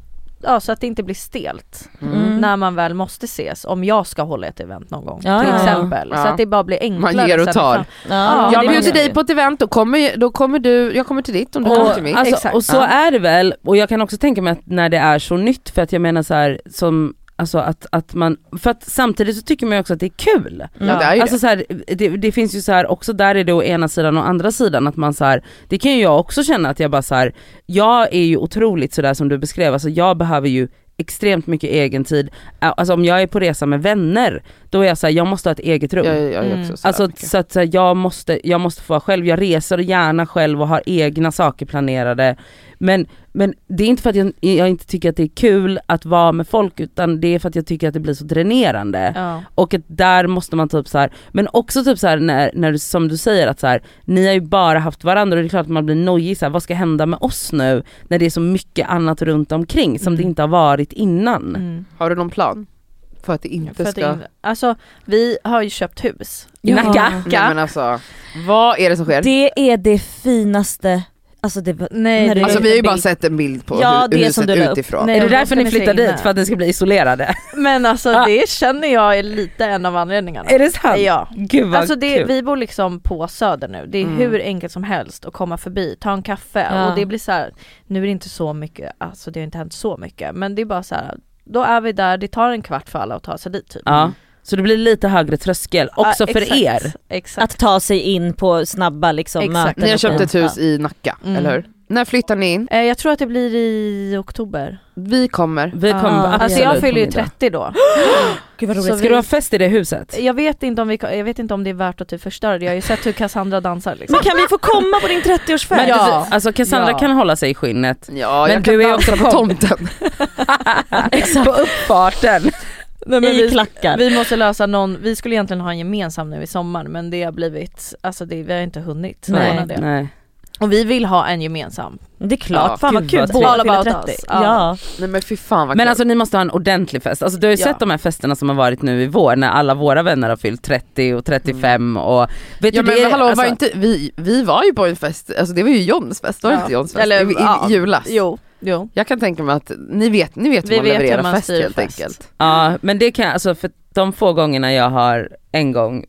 D: Ja så att det inte blir stelt
C: Mm.
D: när man väl måste ses om jag ska hålla ett event någon gång
C: Ja,
D: till
C: ja, ja.
D: exempel.
A: Ja.
D: Så att det bara blir enklare.
A: ger och
D: sen
A: tar.
D: fram-
C: Ja,
A: Jag
D: det
A: bjuder
D: menar
A: dig
D: vi.
A: på ett event, då kommer, då kommer du, jag kommer till ditt om du kommer till mitt.
B: Och, alltså,
D: Exakt.
B: och så
A: Ja.
B: är det väl, och jag kan också tänka mig att när det är så nytt, för att jag menar så här, som, alltså att, att man, för att samtidigt så tycker man ju också att det är kul.
A: ja, det är ju
B: Alltså så här, det, det finns ju så här också där är det å ena sidan och andra sidan att man så här, det kan ju jag också känna att jag bara så här, jag är ju otroligt sådär som du beskrev, alltså jag behöver ju extremt mycket egen tid. Ä- Alltså om jag är på resa med vänner, då är jag såhär, jag måste ha ett eget rum.
A: Jag, jag är också
D: Mm.
A: sådär
B: Alltså
A: mycket.
B: så att så här, jag, måste, jag måste få vara själv, jag reser gärna själv och har egna saker planerade. Men, men det är inte för att jag, jag inte tycker att det är kul att vara med folk utan det är för att jag tycker att det blir så dränerande.
D: Ja.
B: Och att där måste man typ så här, men också typ så här när, när du, som du säger att så här, ni har ju bara haft varandra och det är klart att man blir nojig så här, vad ska hända med oss nu när det är så mycket annat runt omkring som det
D: Mm.
B: inte har varit innan.
D: Mm.
A: Har du någon plan? För att det inte
D: För att
A: ska...
D: det är- Alltså vi har ju köpt hus.
B: Ja.
D: Nacka.
A: Nej men alltså, vad är det som sker?
C: Det är det finaste, alltså det var,
D: Nej,
C: När
D: det-
C: du-
A: alltså vi har ju bara sett en bild på
C: Ja,
A: hu-
C: det
A: huset
C: som du la upp.
A: utifrån.
D: Nej,
B: Är det
D: och då
B: därför
D: ska
B: ni
D: vi se
B: flyttar
D: inne.
B: dit? För att ni ska bli isolerade?
D: Men alltså
B: Ah.
D: det känner jag är lite en av anledningarna.
B: är det sant?
D: Ja.
B: Gud vad
D: Alltså det,
B: kul.
D: vi bor liksom på söder nu, det är
A: Mm.
D: hur enkelt som helst att komma förbi, ta en kaffe
C: Ja.
D: och det blir så här. nu är det inte så mycket, alltså det har inte hänt så mycket men det är bara så här. då är vi där, det tar en kvart för alla att ta sig dit typ.
B: Ja, så det blir lite högre tröskel också
D: Ah,
B: för
D: exakt,
B: er.
D: Exakt.
C: att ta sig in på snabba liksom
D: Exakt.
C: möten.
A: Ni har
C: och
A: köpt
C: sånt.
A: ett hus i Nacka,
D: Mm.
A: eller hur? När flyttar ni in?
D: Eh, jag tror att det blir i oktober.
A: Vi kommer.
B: Vi kommer
C: Ah.
B: absolut
D: Alltså jag fyller ju
B: på middag.
D: 30 då.
C: Gud vad
D: Så
C: roligt.
B: Ska du ha fest i det huset?
D: Jag vet inte om, vi, jag vet inte om det är värt att typ förstöra det, jag har ju sett hur Cassandra dansar liksom.
C: Men kan vi få komma på din 30-årsfest?
B: Men
D: Ja.
B: du, alltså Cassandra
D: Ja.
B: kan hålla sig i skinnet.
A: Ja,
B: Men
A: jag kan
B: du är
A: dansa
B: också
A: på
B: kom.
A: tomten.
B: På uppfarten.
D: Nej, men
C: I
D: vi,
C: klackar.
D: vi måste lösa någon, vi skulle egentligen ha en gemensam nu i sommar men det har blivit, alltså det, vi har inte hunnit
C: Nej.
D: ordna det.
B: Nej.
D: Och vi vill ha en gemensam.
C: Det är klart,
A: Ja,
C: fan vad
B: gud
C: kul.
B: vad
C: Båda
D: trevligt.
C: fyller
D: All about
C: 30.
D: us. Ja.
C: Ja.
A: Nej men fy fan vad
B: Men
A: kul.
B: alltså ni måste ha en ordentlig fest. Alltså du har ju
D: Ja.
B: sett de här festerna som har varit nu i vår när alla våra vänner har fyllt 30 och 35
D: Mm.
B: och vet
A: Ja
B: du,
A: men
B: det är-
A: hallå,
B: alltså,
A: var inte, vi, vi var ju på en fest, alltså det var ju Johns fest, var det
D: Ja.
A: inte Johns fest?
D: Eller,
A: I, i,
D: ja.
A: i julas.
D: Jo, jo.
A: Jag kan tänka mig att ni vet, ni vet hur
D: Vi
A: man
D: vet hur
A: levererar
D: man
A: fest
D: styr
A: helt
D: fest.
A: enkelt.
B: Ja men det kan jag, alltså för de få gångerna jag har en gång,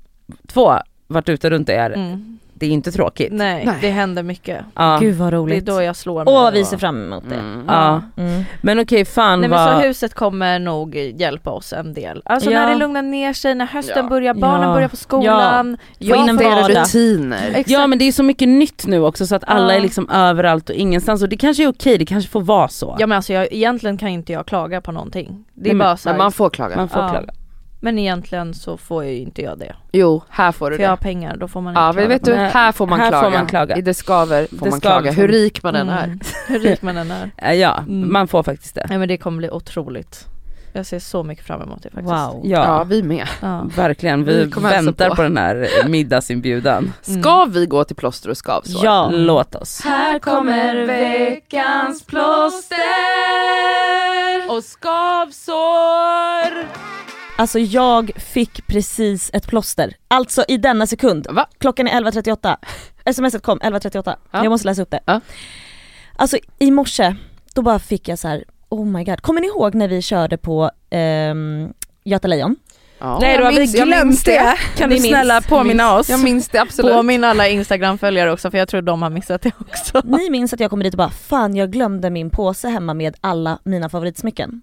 B: två varit ute runt er,
D: Mm.
B: det är inte tråkigt.
D: Nej,
A: Nej.
D: det händer mycket.
B: Ja.
C: Gud vad
D: Det är
C: roligt.
D: då jag slår mig.
C: Åh vi
D: och-
C: ser fram emot det.
A: Mm.
B: Ja.
C: Mm.
B: Men okej fan
D: Nej men
B: vad...
D: så huset kommer nog hjälpa oss en del. Alltså
C: Ja.
D: när det lugnar ner sig, när hösten
A: Ja.
D: börjar, barnen
B: Ja.
D: börjar på skolan.
C: Få in en
D: får-
C: vardag.
A: Rutiner.
D: Exakt.
B: Ja men det är så mycket nytt nu också så att alla
D: Ja.
B: är liksom överallt och ingenstans och det kanske är okej, det kanske får vara så.
D: Ja men alltså jag, egentligen kan inte jag klaga på någonting. Det är
B: Nej, men-
D: bara så här,
A: Men man får klaga.
B: Man får
D: Ja.
B: klaga.
D: men egentligen så får jag ju inte jag det.
A: Jo, här får du
D: För jag har
A: det.
D: pengar, då får man inte
A: Ja
D: klaga
A: men vet
D: på
A: du,
B: Nej,
A: här får man,
B: här får
A: klaga.
B: man klaga.
A: I det skaver får
B: Det
A: man
B: skaver
A: klaga,
B: får-
A: hur rik man än är.
D: Mm. Hur rik man än är.
B: Eh, Ja,
D: Mm.
B: man får faktiskt det.
D: Nej men det kommer bli otroligt. Jag ser så mycket fram emot det faktiskt.
C: Wow.
B: Ja,
A: Ja, vi med.
D: Ja.
B: verkligen. Vi
A: Vi kommer hälsa
B: väntar på.
A: på.
B: den här eh, middagsinbjudan.
A: Ska vi gå till plåster och skavsår?
C: Ja.
B: Låt oss.
A: Här kommer veckans plåster och skavsår.
C: Alltså jag fick precis ett plåster. Alltså i denna sekund.
A: Va?
C: Klockan är 11.38. Smset kom 11.38.
A: Ja.
C: Jag måste läsa upp det.
A: Ja.
C: Alltså i morse, då bara fick jag så här. oh my god. Kommer ni ihåg när vi körde på ehm, Göta Lejon?
A: Ja.
B: Nej då har
A: Jag
B: vi
A: minns- jag minns
B: glömt det. Kan
A: Vi
B: du
A: minns-
B: snälla påminna oss?
A: Jag minns det absolut.
D: Påminn alla instagram-följare också för jag tror de har missat det också.
C: Ni minns att jag kommer dit och bara, fan jag glömde min påse hemma med alla mina favoritsmycken.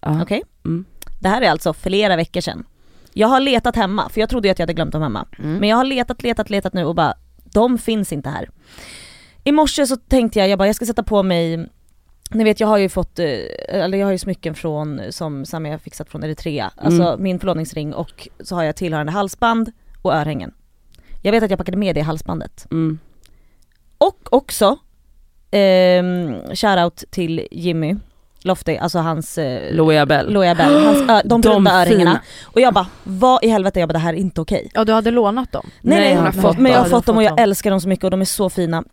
B: Ja.
C: Okej?
B: Mm.
C: Det här är alltså flera veckor sedan. Jag har letat hemma, för jag trodde ju att jag hade glömt dem hemma.
A: Mm.
C: Men jag har letat, letat, letat nu och bara, de finns inte här. I morse så tänkte jag, jag bara jag ska sätta på mig, ni vet jag har ju fått, eh, eller jag har ju smycken från, som Sami har fixat från Eritrea. Alltså min förlovningsring och så har jag tillhörande halsband och örhängen. Jag vet att jag packade med det halsbandet.
B: Mm.
C: Och också, ehm, shoutout till Jimmy Lofty, alltså hans eh,
B: Loea Bell.
C: Loja Bell, hans, ö, de
B: De
C: bruna örhängarna.
B: fina.
C: Och jag bara, vad i helvete, jag bara det här är inte okej.
D: Ja du hade lånat dem.
C: Nej, nej,
B: hon har fått
C: men jag har
D: dem.
C: fått dem och
D: Du har
C: jag
D: fått dem.
C: älskar dem så mycket och de är så fina.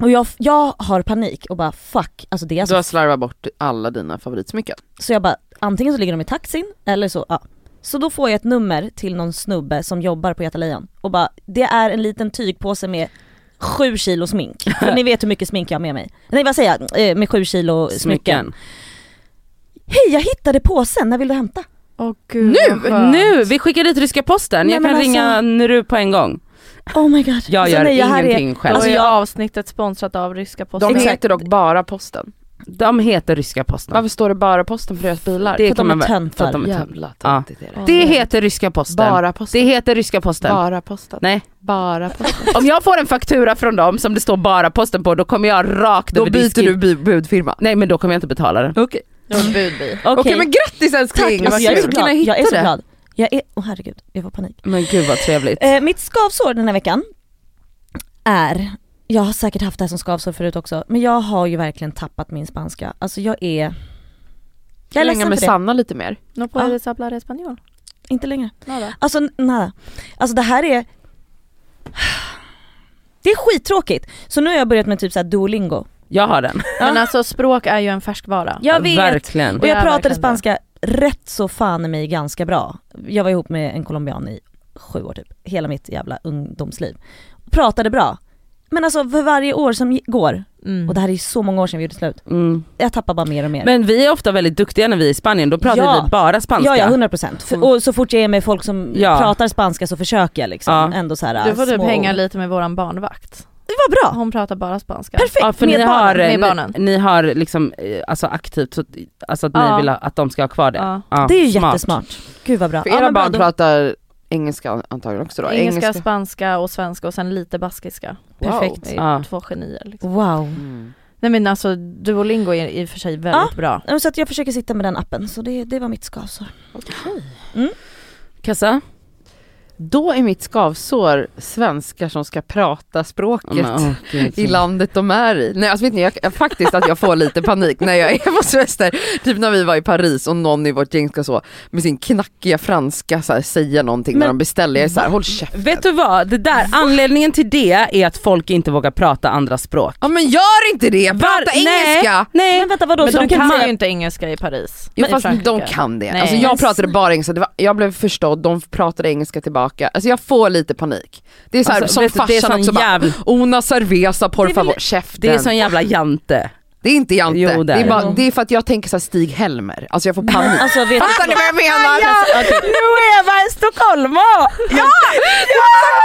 C: Och jag, jag har panik och bara fuck, alltså det är
A: Du
C: alltså,
A: har slarvat bort alla dina favoritsmycken.
C: så jag bara antingen så ligger de i taxin eller så, ja. Så då får jag ett nummer till någon snubbe som jobbar på Göta Lejon och bara, det är en liten tygpåse med sju kilo smink. För ni vet hur mycket smink jag har med mig. Nej vad säger jag, Eh, med sju kilo smycken.
B: Smycken.
C: Hej jag hittade påsen, när vill du hämta?
D: Åh gud
A: Nu!
D: vad skönt.
B: Nu! Vi skickar dit ryska posten.
C: Nej,
B: jag
C: men
B: kan
C: alltså-
B: ringa Nuru på en gång.
C: Oh my god.
B: Jag
C: Alltså,
B: gör
C: nej, här är-
B: ingenting
D: Då
B: själv.
C: Alltså,
D: är
C: jag-
D: avsnittet sponsrat av ryska
A: De
D: posten.
C: Exakt.
A: heter dock bara posten.
B: De heter ryska posten.
A: Varför står det bara posten på deras bilar?
C: att
B: Det
C: de
B: kan man
C: är
B: väl-
C: töntar.
B: för att de är töntar.
A: Jävla töntigt är det.
B: Det heter ryska posten.
A: Bara posten.
B: Det heter ryska posten.
A: Bara posten.
B: Nej.
A: Bara posten.
B: Om jag får en faktura från dem som det står bara posten på då kommer jag rakt
A: Då
B: över
A: byter
B: disken.
A: du bu- budfirma.
B: Nej men då kommer jag inte betala den.
A: Okej.
D: De budbil.
A: Okej men grattis älskling!
C: Tack, alltså, jag, är så glad. jag är så glad. Jag är, åh herregud, jag får panik.
B: Men gud vad trevligt.
C: Eh, mitt skavsår den här veckan är, jag har säkert haft det här som skavsår förut också, men jag har ju verkligen tappat min spanska. Alltså jag är... Jag är
A: Länge
C: ledsen
A: med
C: för det.
A: Sanna lite mer.
D: No
C: puedes
D: hablar español.
C: Inte längre. Alltså n- nada. Alltså det här är... Det är skittråkigt. Så nu har jag börjat med typ så här Duolingo.
B: Jag har den.
D: Men alltså språk är ju en färskvara.
C: Jag vet!
B: Verkligen.
C: Och jag
D: Ja,
C: pratade
D: verkligen.
C: spanska rätt så fan i mig ganska bra. Jag var ihop med en colombian i sju år typ, hela mitt jävla ungdomsliv. Pratade bra. Men alltså för varje år som gi- går,
D: Mm.
C: och det här är ju så många år sedan vi gjorde slut,
B: Mm.
C: jag tappar bara mer och mer.
B: Men vi är ofta väldigt duktiga när vi är i Spanien, då pratar
C: Ja.
B: vi bara spanska.
C: ja ja, 100% procent. Och så fort jag är med folk som
B: Ja.
C: pratar spanska så försöker jag liksom
B: Ja.
C: ändå så här,
D: Du får typ
C: små
D: hänga
C: ord.
D: lite med våran barnvakt.
C: Det var bra!
D: Hon pratar bara spanska.
C: Perfekt!
B: Ja, för
C: med
B: ni,
C: barnen.
B: har,
D: med barnen.
B: ni, ni har liksom eh, alltså aktivt, så, alltså att
D: Ja.
B: ni vill ha, att de ska ha kvar det.
D: Ja.
B: Ja,
C: Det är ju
B: smart.
C: jättesmart. Gud vad bra.
A: För
C: Ja,
A: era
C: men bra,
A: barn
C: då-
A: pratar engelska antagligen också då?
D: Engelska, spanska och svenska och sen lite baskiska.
A: Wow.
D: Perfekt. Det är
B: Ja.
D: Två genier liksom.
C: Wow.
A: Mm.
D: Nej men alltså Duolingo är i och för sig väldigt bra.
C: Ja, Så att jag försöker sitta med den appen, så det, det var mitt skavsår.
B: Kassa?
A: Då är mitt skavsår svenskar som ska prata språket.
B: Ja, men, åh, gud.
A: i landet de är i. Nej alltså vet ni, jag, jag, faktiskt att jag får lite panik när jag är på semester. Typ när vi var i Paris och någon i vårt gäng ska så med sin knackiga franska så här, säga någonting när
B: Men-
A: de beställer. Jag är så här, håll käften.
B: Vet du vad, det där, anledningen till det är att folk inte vågar prata andra språk.
A: Ja men gör inte det, prata
B: Var-
A: engelska!
B: Nej,
C: Men
B: nej.
C: vänta vadå,
D: men
C: så
D: de
C: du kan
D: kan
C: inte säga-
D: ju inte engelska i Paris.
A: Jo
D: I
A: fast de
D: Frankrike.
A: kan det.
D: Nej.
A: Alltså
D: Men
A: jag pratade bara engelska, det var, jag blev förstådd, de pratade engelska tillbaka. Alltså jag får lite panik. Det är så här,
B: Alltså,
A: som
B: vet du, det är
A: farsan
B: sån
A: också
B: jävla-
A: bara, una cerveza por
C: Det är väl-
A: favor, käften.
B: det är sån jävla jante.
A: Det är inte Jante,
B: Jo, det är
A: det, är
B: det.
A: bara, det är för att jag tänker så här Stig-Helmer, alltså jag får panik.
C: Alltså vet
A: Fattar ni vad jag menar?
B: Ah, Nu är jag en stockholmare!
A: Exakt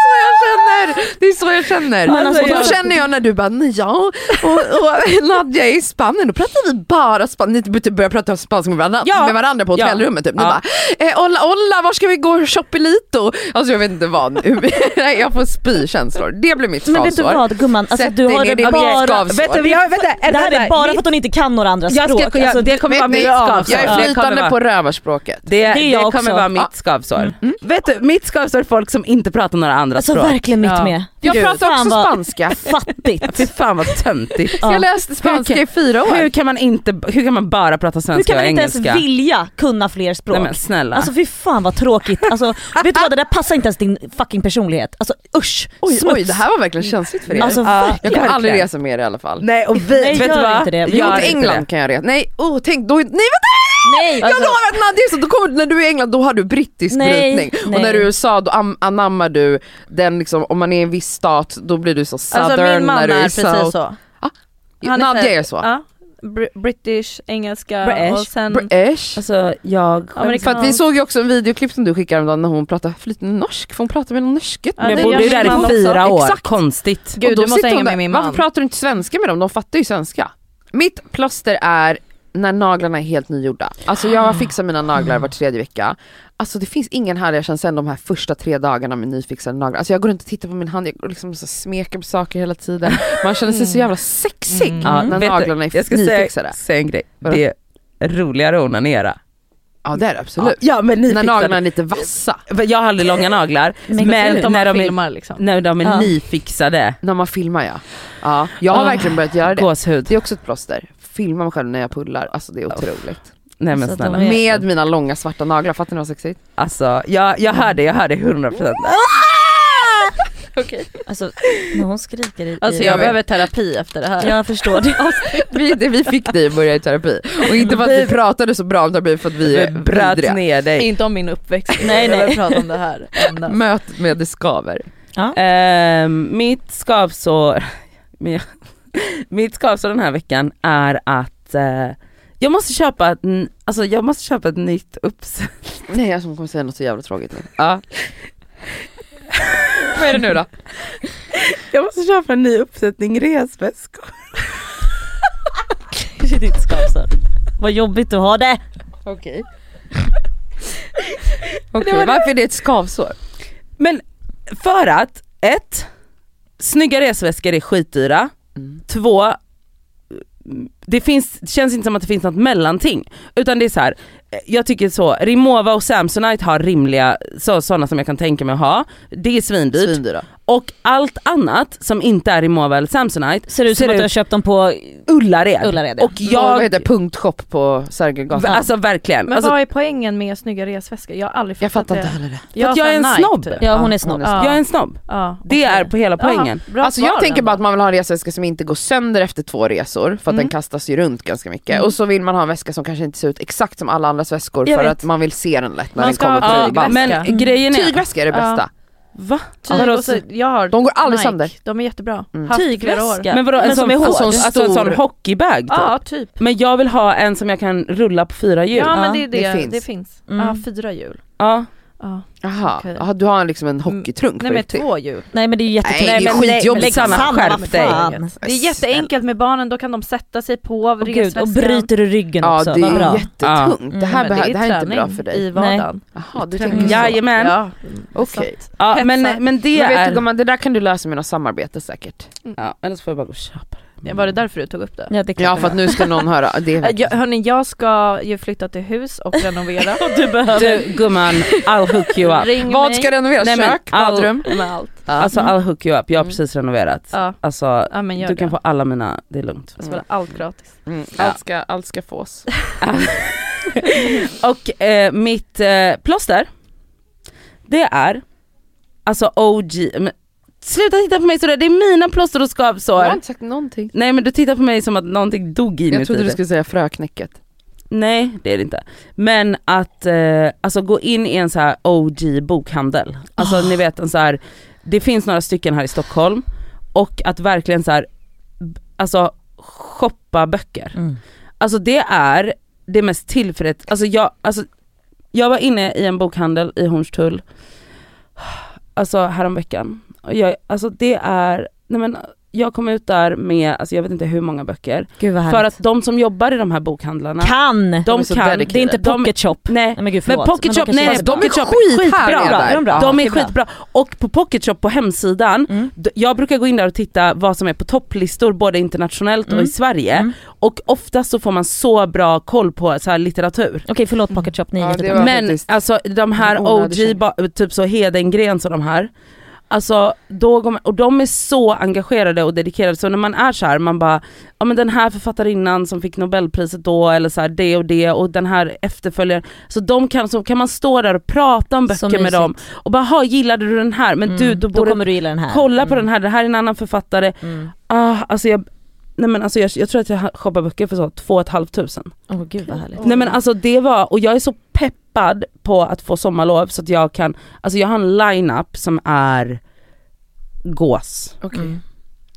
A: så jag känner! Det är så jag känner.
C: Men alltså,
A: och då
C: jag-
A: känner jag när du bara, "Nej, ja, och, och Nadja är i Spanien, då pratar vi bara spanska, ni typ börjar prata spanska med varandra,
B: Ja.
A: med varandra på
B: Ja.
A: hotellrummet typ. Ni
B: Ja.
A: bara, eh, olla, olla, var ska vi gå shoppilito? Alltså jag vet inte vad, Nej, jag får spykänslor. Det blir mitt
C: Men vet du
A: skavsår.
C: vad gumman, alltså,
A: Sätt
C: du
A: dig
C: har
A: ner,
C: det
A: det är mitt
C: bara...
A: skavsår.
B: Vänta, vi har, vänta,
C: Det här är
B: vänta.
C: bara
B: Vi-
C: för att hon inte kan några andra
B: jag
C: språk.
B: ska, jag,
C: Alltså,
B: det kommer vara
A: Vet
B: mitt
A: ni,
B: skavsår.
A: jag är
B: Det kommer
A: flytande
B: vara-
A: på rövarspråket.
B: Det, det,
C: jag
B: kommer
C: också.
B: vara mitt skavsår. Vet du, mitt skavsår är folk som inte pratar några andra
C: alltså
B: språk.
C: verkligen mitt
B: Ja.
C: med.
A: Jag
C: Gud,
A: pratar
C: fan
A: också
C: vad
A: spanska.
C: Fattigt.
B: Fy fan vad töntigt.
C: Ja.
A: Jag läste spanska i fyra år.
B: Hur kan man inte, hur kan man bara prata
C: Hur
B: svenska
C: kan
B: och
C: man inte ens
B: engelska?
C: vilja kunna fler språk?
B: Nej men snälla.
C: Alltså fy fan vad tråkigt. Alltså, vet du vad, det där passar inte ens din fucking personlighet. Alltså usch,
A: Oj,
C: smuts.
A: oj, det här var verkligen känsligt för er.
C: Alltså
A: jag
C: verkligen.
A: kommer aldrig
B: verkligen.
A: resa med er i alla fall.
B: nej och vi,
C: Nej,
B: vet
C: gör
B: du vad?
C: inte det. Vi
A: Jo,
B: Gör
A: till
B: inte
A: England
B: det.
A: kan jag resa. Nej, oh, tänk, då, nej vänta!
C: Nej,
D: Alltså-
A: Jag lovar att Nadja, är så- då kommer, när du är i England då har du brittisk
C: Nej,
A: brytning
C: nej.
A: och när du är i USA då am, anammar du den liksom, om man är i en viss stat då blir du så southern
D: Alltså min man
A: när
D: är
A: du är, i
D: precis
A: south.
D: så. Han är
A: Nadja
D: såhär-
A: är så.
D: Ja. Br- British, engelska
C: British.
D: och sen...
A: British.
B: Alltså jag skäms.
A: För att vi såg ju också en videoklipp som du skickade häromdagen när hon pratade flytande norsk, för hon pratade med någon norsket.
D: Ja,
B: Men
D: det
B: jag bodde
D: gör
B: ju
D: min man
B: där i
D: också.
B: fyra år,
A: Exakt.
B: konstigt.
D: Gud
A: Och då
D: du måste
A: sitter hon
D: hänga
A: där,
D: med min man.
A: Varför pratar du inte svenska med dem? De fattar ju svenska. Mitt plåster är när naglarna är helt nygjorda. Alltså jag fixar mina naglar var tredje vecka. Alltså det finns ingen härligare känsla än de här första tre dagarna med nyfixade naglar. Alltså jag går runt och tittar på min hand, jag går liksom så smeker på saker hela tiden. Man känner sig så jävla sexig när
B: vet du,
A: naglarna är
B: jag ska
A: nyfixade.
B: säga, säga en grej,
A: Vadå?
B: det är roligare att onanera.
A: Ja det är det absolut.
B: Ja men
A: När naglarna är
B: nyfixade.
A: lite vassa.
B: Jag har aldrig långa naglar, men,
D: Speciellt om man
B: när, de är,
D: filmar liksom.
B: när de är
C: Ja.
B: nyfixade,
A: När man filmar ja. ja jag har
B: Ah,
A: verkligen börjat göra det.
B: gåshud.
A: Det är också ett plåster. Filma mig själv när jag pullar, alltså det är otroligt.
B: Nej men
C: Alltså, de
B: snälla.
C: är-
A: Med mina långa svarta naglar, fattar ni vad sexigt?
B: Alltså jag, jag hör det, jag hör det 100%.
C: Alltså när hon skriker i... Alltså,
D: Alltså
C: i-
D: jag behöver terapi efter det här.
C: Jag förstår det.
A: Vi, det, vi fick dig att börja i terapi. Och inte för att vi pratade så bra om terapi, för att vi är
B: Det bröt
A: vidriga.
B: ner dig.
D: Inte om min uppväxt,
C: Nej,
D: nej, nej. jag
C: nej.
D: vill prata om det här. endast.
A: Möt med det skaver.
B: Ehm, mitt skavsår, mitt skavsår den här veckan är att eh, jag måste köpa ett, n- alltså jag måste köpa ett nytt uppsätt.
A: Nej jag som kommer säga något så jävla tråkigt nu.
B: Ja.
A: Vad är det nu då?
B: Jag måste köpa en ny uppsättning resväskor.
C: I ditt skavsår. Vad jobbigt du har det.
A: Okej. Okej, varför är det ett skavsår?
B: Men för att, ett, snygga resväskor är skitdyra.
A: Mm.
B: Två, det, finns, det känns inte som att det finns något mellanting. Utan det är så här. eh, jag tycker så, Rimowa och Samsonite har rimliga, så, sådana som jag kan tänka mig att ha. Det är svindyrt.
A: Svindyra.
B: Och allt annat som inte är Rimowa eller Samsonite
C: Ser ut som att du har köpt dem på
B: Ullared.
C: Ullared, ja.
B: Och
A: Jag... Vad heter
B: jag,
A: det? punktshop på
B: v-
A: Sergelgatan?
B: alltså verkligen.
D: Men
B: alltså,
D: vad är poängen med snygga resväskor? Jag har aldrig
A: jag
D: fattat
A: fattar
D: det.
A: inte heller det.
B: För att jag
D: sa
B: är en
D: night.
B: snobb.
C: Ja hon är
A: Ja,
C: snobb.
A: hon är
D: snobb.
B: jag är en snobb.
D: Ja,
B: Det
D: okej.
B: är på hela poängen.
D: Jaha, bra
A: Alltså jag
D: svar
A: tänker
D: ändå.
A: bara att man vill ha en resväska som inte går sönder efter två resor, för att
D: Mm.
A: den kastas ju runt ganska mycket.
D: Mm.
A: Och så vill man ha en väska som kanske inte ser ut exakt som alla andras väskor
B: Jag
A: för
B: vet.
A: att man vill se den lätt när
D: Man
A: den
D: ska
A: kommer på
D: ha
B: Ja,
D: tygväska.
A: ryggband.
B: men
D: Mm.
B: grejen är...
A: Tygväska är det
D: Ja.
A: bästa.
B: Va?
D: Tyg,
B: Vadå,
D: och så, Typ, alltså, jag har
A: De går aldrig
D: Nike.
A: sönder.
D: De är jättebra.
A: Mm.
D: Haft flera år.
C: Tygväska.
B: Men vadå, en
C: Men
B: sån,
C: som är hård.
B: alltså en sån,
A: Stor.
B: hockeybag typ.
D: Ja, typ.
B: Men jag vill ha en som jag kan rulla på fyra hjul.
D: Ja, men det
C: Ja,
D: är det.
A: det
D: Det
A: finns.
D: finns.
C: Mm.
D: Ja, fyra hjul.
B: Ja.
D: Ja.
A: Jaha,
D: Okej.
A: Jaha, du har en- liksom en hockeytrunk
D: Nej
A: på
D: men
A: riktigt?
D: två hjul.
C: Nej men det är ju jättetungt.
A: Nej, det är
C: men
A: skitjobbigt.
C: lägg
B: Sanna,
C: samman,
B: skärp dig.
C: fan.
D: Det är jätteenkelt med barnen, då kan de sätta sig på
C: Åh, gud, och
D: resväskan.
C: bryter du ryggen
A: Ja
C: också,
A: det
C: vad
A: är
C: bra.
A: jättetungt,
C: Ja.
A: det, här
D: Mm, Men
A: behö-
D: ju
A: det här är inte
D: träning
A: bra för dig.
D: i vardagen.
A: Jaha, du
D: Träning.
A: tänker så.
D: Jajamän.
B: Mm. Jajamän. Ja,
D: Ja.
A: Okej.
D: Så att- Hetsar.
B: men, men det
A: Men vet du
B: är...
A: gumman, det där kan du lösa med något samarbete säkert.
B: Ja, eller så får jag bara gå och köpa det.
D: Var det därför du tog upp det?
C: Ja, det är klart.
A: Ja för att nu ska någon höra, det
D: Äh,
A: är
D: Jag, hörni, jag ska ju flytta till hus och renovera.
C: du behöver...
B: Du gumman, I'll hook you up.
D: Ring
A: Vad
D: mig
A: ska renoveras?
B: Nej, men
A: Kök,
B: all-
A: badrum?
D: med allt.
B: Alltså I'll hook you up, jag har precis renoverat.
D: Ja,
B: Alltså
D: ja men gör
B: du kan
D: det.
B: få alla mina, det är lugnt.
D: Jag ska få allt gratis.
A: Mm.
B: Ja.
A: Allt, ska, allt ska fås.
B: Och eh, mitt eh, plåster, det är alltså OG, men, sluta titta på mig sådär, det är mina plåster och
A: Jag har
B: skavsår.
A: inte sagt någonting.
B: Nej men du tittar på mig som att någonting dog
A: Jag
B: inuti.
A: trodde du
B: dig.
A: skulle säga fröknäcket.
B: Nej det är det inte. Men att eh, alltså, gå in i en så här OG bokhandel. Alltså
C: Ah.
B: ni vet en så här, det finns några stycken här i Stockholm och att verkligen så här, b- alltså shoppa böcker.
C: Mm.
B: Alltså det är det mest tillfreds... Alltså jag, alltså, jag var inne i en bokhandel i Hornstull, alltså häromveckan. Och jag, alltså det är, nej men jag kom ut där med, alltså jag vet inte hur många böcker.
C: Gud vad
B: För
C: härligt.
B: att de som jobbar i de här bokhandlarna,
C: Kan! Det
B: de,
A: är så
B: kan,
A: dedicated.
C: är inte
B: de-
C: pocket shop.
B: nej.
C: Nej men gud
B: Men
C: förlåt.
B: pocket
C: de
B: shop,
C: kanske
B: nej, nej
C: är bra.
B: pocket shop
A: skithärliga
B: skitbra.
A: där.
C: Är de bra?
B: De är
C: Okej, bra.
B: skitbra. Och på Pocket Shop på hemsidan,
C: Mm.
B: d- jag brukar gå in där och titta vad som är på topplistor både internationellt och
C: Mm.
B: i Sverige.
C: Mm.
B: Och oftast så får man så bra koll på så här litteratur.
C: Okej förlåt pocket shop, ni är
A: Ja, det
C: jättebra.
A: var-
B: Men
A: faktiskt
B: alltså de här
A: en onödig
B: OG, ba- typ så Hedengrens och de här. Alltså, då går man, och de är så engagerade och dedikerade så när man är så här, man bara, ja men den här författarinnan som fick nobelpriset då eller så här, det och det och den här efterföljaren. Så, de kan, så kan man stå där och prata
C: Så
B: om böcker med
C: mysigt.
B: dem och bara, ha gillade du den här? Men
C: Mm.
B: du, då
C: Då
B: borde
C: kommer Mm. du gilla den här.
B: kolla på den här, det här är en annan författare.
C: Mm.
B: Ah, alltså jag, nej men alltså jag, jag tror att jag shoppar böcker för så två och ett halvt tusen.
C: Åh gud vad härligt.
B: Nej men alltså det var, och jag är så peppad på att få sommarlov så att jag kan, alltså jag har en line-up som är gås.
A: Okej.
C: Mm.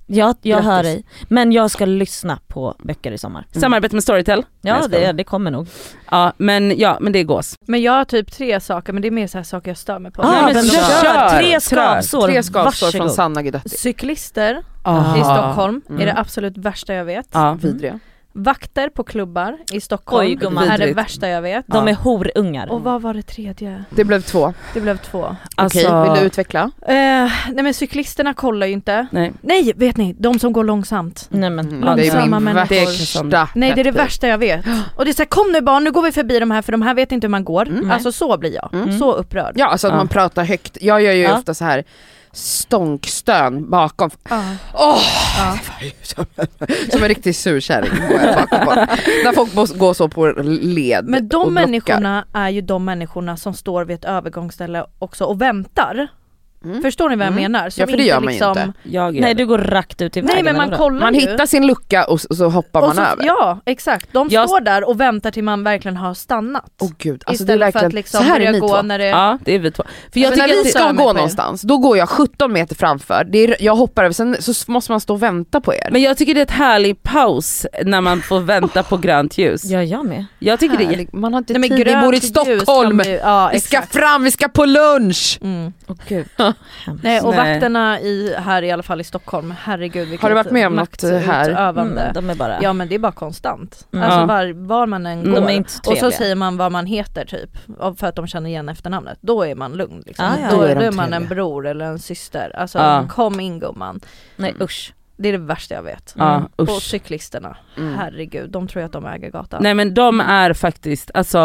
C: Jag, jag hör
B: Grattis. Mm.
C: dig. Men jag ska lyssna på böcker i sommar.
B: Samarbete med Storytel. Nej,
C: Mm. Ja
B: jag skojar.
C: det, det kommer nog.
B: Ja men ja, men det är gås.
D: Men jag har typ tre saker, men det är mer så här saker jag stör mig på.
C: Ah,
B: Nej,
C: men
B: men
C: kör,
B: kör. Kör.
C: Tre skavsår,
A: Tre skavsår från
C: varsågod.
A: Sanna Guidetti.
D: Cyklister
B: Ah.
D: i Stockholm
A: Mm.
D: är det absolut värsta jag vet.
B: Ja.
A: Vidriga.
D: Vakter på klubbar i Stockholm
C: Oj, gumman.
D: är det
B: Vidrigt.
D: värsta jag vet.
C: De är horungar.
D: Och vad var det tredje?
A: Det blev två.
D: Det blev två.
B: Alltså,
A: Okej, vill du utveckla?
D: Eh, nej men cyklisterna kollar ju inte.
B: Nej.
D: Nej vet ni, de som går långsamt.
C: Nej men
A: Mm, det är
D: Långsamma
A: min
D: människor.
B: Det är
A: värsta
B: Cassandra.
D: Nej det är det
A: pet peeve.
D: värsta jag vet. Och det är såhär, kom nu barn nu går vi förbi de här för de här vet inte hur man går.
A: Mm.
D: Alltså så blir jag,
A: Mm.
D: så upprörd.
A: Ja, alltså att
B: Ja.
A: man pratar högt. Jag gör ju
C: Ja.
A: ofta så här stånkstön bakom.
D: Ja.
A: Åh!
D: Ja.
A: Som en riktig surkärring går jag bakom på. När folk måste gå så på led
D: Men
A: och
D: de
A: blockar.
D: människorna är ju de människorna som står vid ett övergångsställe också och väntar.
A: Mm.
D: Förstår ni vad jag
A: Mm.
D: menar? Som
A: Ja, för det gör man ju inte.
B: Jag är
C: Nej du går rakt ut i vägen.
D: Nej men man
C: eller vadå?
D: kollar
A: Man
D: ju.
A: hittar sin lucka och, s- och så hoppar
D: och
A: man
D: så,
A: över. Åh
D: Ja exakt, de
B: Jag-
D: står där och väntar till man verkligen har stannat.
A: gud, alltså det är
D: Istället för
A: verkligen,
D: att liksom
A: så här är
D: börja
A: ni
D: gå
A: två.
D: när det...
B: Ja det är vi två. För jag
A: Alltså,
B: tycker
A: när
B: att
A: vi
B: det,
D: stör
A: ska
D: mig på
A: gå
D: er.
A: någonstans, då går jag 17 meter framför, det är, jag hoppar över, sen så måste man stå och vänta på er.
B: men jag tycker det är ett härligt paus när man får vänta på grönt ljus.
C: Ja jag med.
B: Jag tycker det är
A: Härlig- man har inte
D: Nej, men
A: tid, vi bor i
D: grönt ljus kan
A: Stockholm!
D: ju- ja,
A: Vi ska
D: exakt.
A: fram, vi ska på lunch!
D: Mm.
C: Åh gud.
D: Nej och
B: Nej.
D: vakterna i, här i alla fall i Stockholm, herregud vilket
A: Har du varit med om något här?
D: maktutövande.
C: Mm, de är bara...
D: Ja men det är bara konstant.
C: Mm.
D: Alltså
B: Ja.
D: var, var man än
B: Mm.
D: går.
C: De är inte så
D: och
C: trevliga.
D: så säger man vad man heter typ, av- för att de känner igen efternamnet. Då är man lugn liksom.
C: Ah, ja.
D: Då
A: Då är
D: är,
A: de
D: man
A: trevliga.
D: en bror eller en syster. Alltså
B: Ja.
C: Mm.
D: kom in gumman.
C: Nej usch.
D: Det är det värsta jag vet.
B: Ja,
D: Och
B: usch.
D: cyklisterna,
A: Mm.
D: herregud, de tror ju att de äger gatan.
B: Nej men de är faktiskt, alltså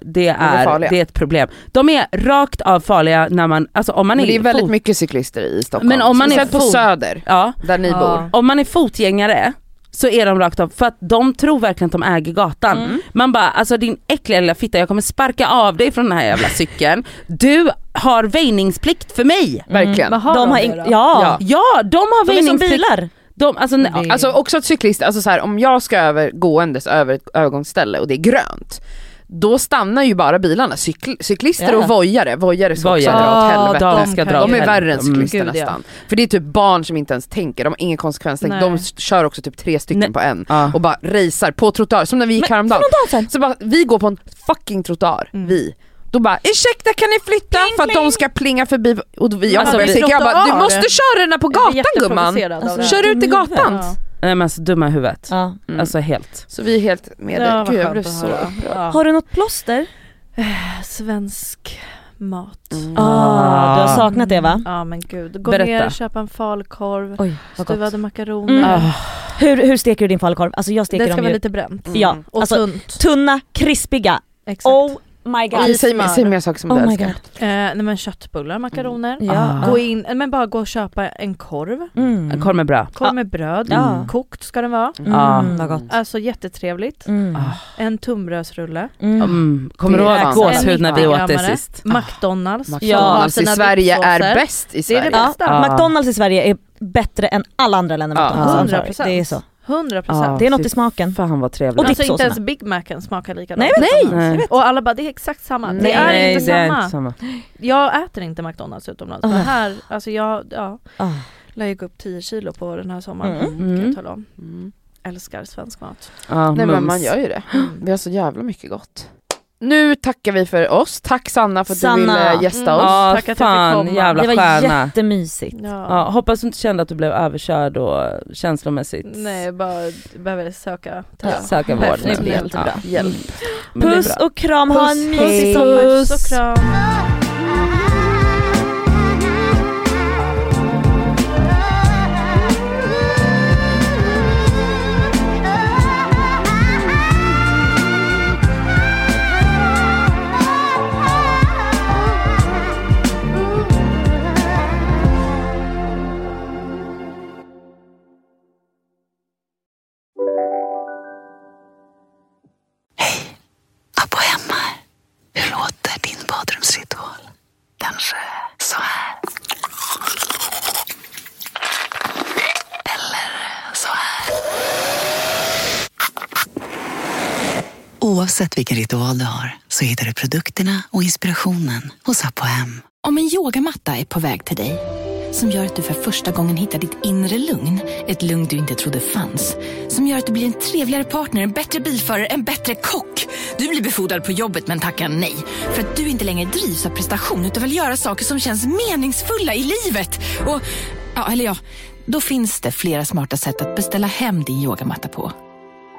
B: det är,
A: farliga.
B: det är ett problem. De är rakt av farliga när man, alltså om man
A: Men det är väldigt
B: fot-
A: mycket cyklister i Stockholm.
B: Men om man är
A: Speciellt på
B: fot-
A: Söder,
B: Ja, Mm.
A: där ni
D: Ja.
A: bor.
B: om man är fotgängare så är de rakt av, för att de tror verkligen att de äger gatan.
C: Mm.
B: Man bara, alltså din äckliga lilla fitta jag kommer sparka av dig från den här jävla cykeln. Du har väjningsplikt för mig!
A: Verkligen.
D: Vad har
C: de
D: de,
C: har
D: nu
C: in-
D: då?
C: ja,
B: Ja, de har
C: de är som
B: väjningsplikt.
C: bilar. Mm.
B: De, alltså, nej,
D: Det-
A: Alltså också att cyklister, alltså så här, om jag ska över gåendes över ett övergångsställe och det är grönt, då stannar ju bara bilarna, Cykl cyklister
C: Ja.
A: och vojare, vojare ska
B: Vojare.
A: också dra åt helvete.
B: de ska
D: kan
B: dra
D: ju-
A: De är värre än
B: Mm.
A: cyklister
D: Gud, ja.
A: nästan. För det är typ barn som inte ens tänker, de har ingen konsekvenstänk,
D: Nej.
A: de s- kör också typ tre stycken
B: Nej.
A: på en
B: Ja.
A: och bara racear på trottoar, som när vi gick häromdagen. Så bara, vi går på en fucking trottoar,
D: Mm.
A: vi. Då bara ursäkta kan ni flytta för att de ska plinga förbi och då, jag,
B: Alltså,
A: bara,
B: vi
A: jag, jag bara du
D: trottoar.
A: måste köra den här på
D: Jag blir
A: gatan gumman.
D: jätteprovocerad av
C: Alltså,
D: det här.
A: Kör ut i gatan.
D: Mm. Ja.
B: nej men alltså dumma i huvudet.
C: Ja.
A: Mm.
B: Alltså helt.
A: Så vi är helt med dig.
D: Ja, vad
A: Gud jag
D: skönt
A: blev
D: att
A: så
D: höra.
A: upprörd.
D: Ja.
C: Har du något plåster?
D: Svensk mat.
C: Ah, du har saknat det va?
D: Ja men gud. Gå
B: Berätta.
D: ner, köpa en falukorv,
C: Oj, vad gott.
D: stuvade makaroner.
C: Mm.
B: Ah.
C: Hur, hur steker du din falukorv? Alltså jag steker
D: Det ska
C: dem
D: vara
C: ju.
D: lite bränt.
C: Ja,
D: Och
C: alltså
D: tunt.
C: tunna, krispiga.
D: Exakt.
C: Oh my god.
D: Och
A: Säg,
D: smör.
A: säg mer saker som du
C: Oh my
A: älskar.
C: god.
D: Eh, nej men köttbullar, makaroner.
B: Ja.
D: Gå in, eh, men bara gå och köpa en korv.
C: Mm.
B: Korv med bröd.
D: Korv
C: Ja.
D: med bröd.
C: Ja.
D: Kokt ska den vara.
A: Mm.
B: Ja.
C: Mm, vad gott.
D: Alltså jättetrevligt.
C: Mm.
B: Ah.
D: En tunnbrödsrulle.
C: Mm.
B: Mm. Kommer du
A: Det är
B: ihåg gåshud
D: en
B: när vi åt det
C: eh?
D: mikrogrammare.
B: sist? Ah.
D: McDonalds. som har
A: McDonalds i
D: sina
A: alltså, Sverige är
D: dipsåser.
A: bäst i
D: Det är
A: Sverige.
D: det bästa.
C: Ja,
B: Ja.
C: Ah. McDonalds i Sverige är bättre än alla andra länder.
A: Ja,
C: McDonald's. I'm
D: 100%.
C: sorry. Det är så.
D: 100
B: Ja.
D: procent.
C: Det är något
B: fy
C: i smaken.
B: Fan vad trevligt.
C: Och
D: alltså inte
C: dipsåserna.
D: ens Big Macen smakar likadant.
C: Nej,
A: Nej!
B: Nej.
D: Och alla bara det är exakt samma.
A: Nej,
D: det är inte
B: det
D: samma.
B: är inte samma.
D: Jag äter inte McDonalds utomlands
C: Ah.
D: men här, alltså jag ja,
C: Ah.
D: lär ju gå upp 10 kilo på den här sommaren.
C: Mm.
D: Kan
B: Mm.
D: jag tala om. Älskar svensk mat.
B: Ja,
A: Nej men
B: mums.
A: man gör ju det.
D: Mm.
A: Vi har så jävla mycket gott. Nu tackar vi för oss. Tack Sanna för att du
C: Sanna.
A: ville gästa
D: Mm.
A: oss.
B: Ja,
D: Tack att jag fick
B: fan
D: komma.
B: jävla
C: Det var
B: stjärna.
C: jättemysigt.
D: Ja.
B: Ja, hoppas du inte kände att du blev överkörd och känslomässigt
D: Nej, bara behöver söka
B: ja. söka
D: Ja.
B: vård.
D: Det blir
B: Ja.
D: jättebra.
A: Hjälp.
B: Men det är
C: Puss
B: bra.
C: och kram, ha en
D: Puss i
C: mysig
D: sommar,
C: sommar.
D: puss och kram.
F: Abba hemma. Hur låter din badrumsritual? Kanske så här. Eller så här. Oavsett vilken ritual du har så hittar du produkterna och inspirationen hos Abba Hem.
G: Om en yogamatta är på väg till dig, som gör att du för första gången hittar ditt inre lugn, ett lugn du inte trodde fanns, som gör att du blir en trevligare partner, en bättre bilförare, en bättre kock. Du blir befordrad på jobbet men tackar nej, för att du inte längre drivs av prestation utan vill göra saker som känns meningsfulla i livet. Och, ja, eller ja, då finns det flera smarta sätt att beställa hem din yogamatta på.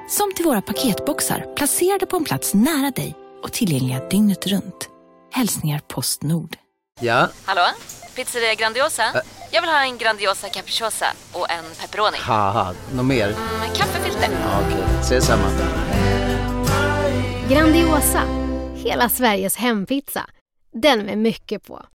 G: Som till våra paketboxar placerade på en plats nära dig och tillgängliga dygnet runt. Hälsningar Postnord.
H: Ja,
I: Hallå? Pizzeria Grandiosa? Jag vill ha en Grandiosa capriciosa och en pepperoni.
H: haha, något mer?
I: Med kaffefilter.
H: Ja, Okej, ses samma.
J: Grandiosa, hela Sveriges hempizza. Den med mycket på.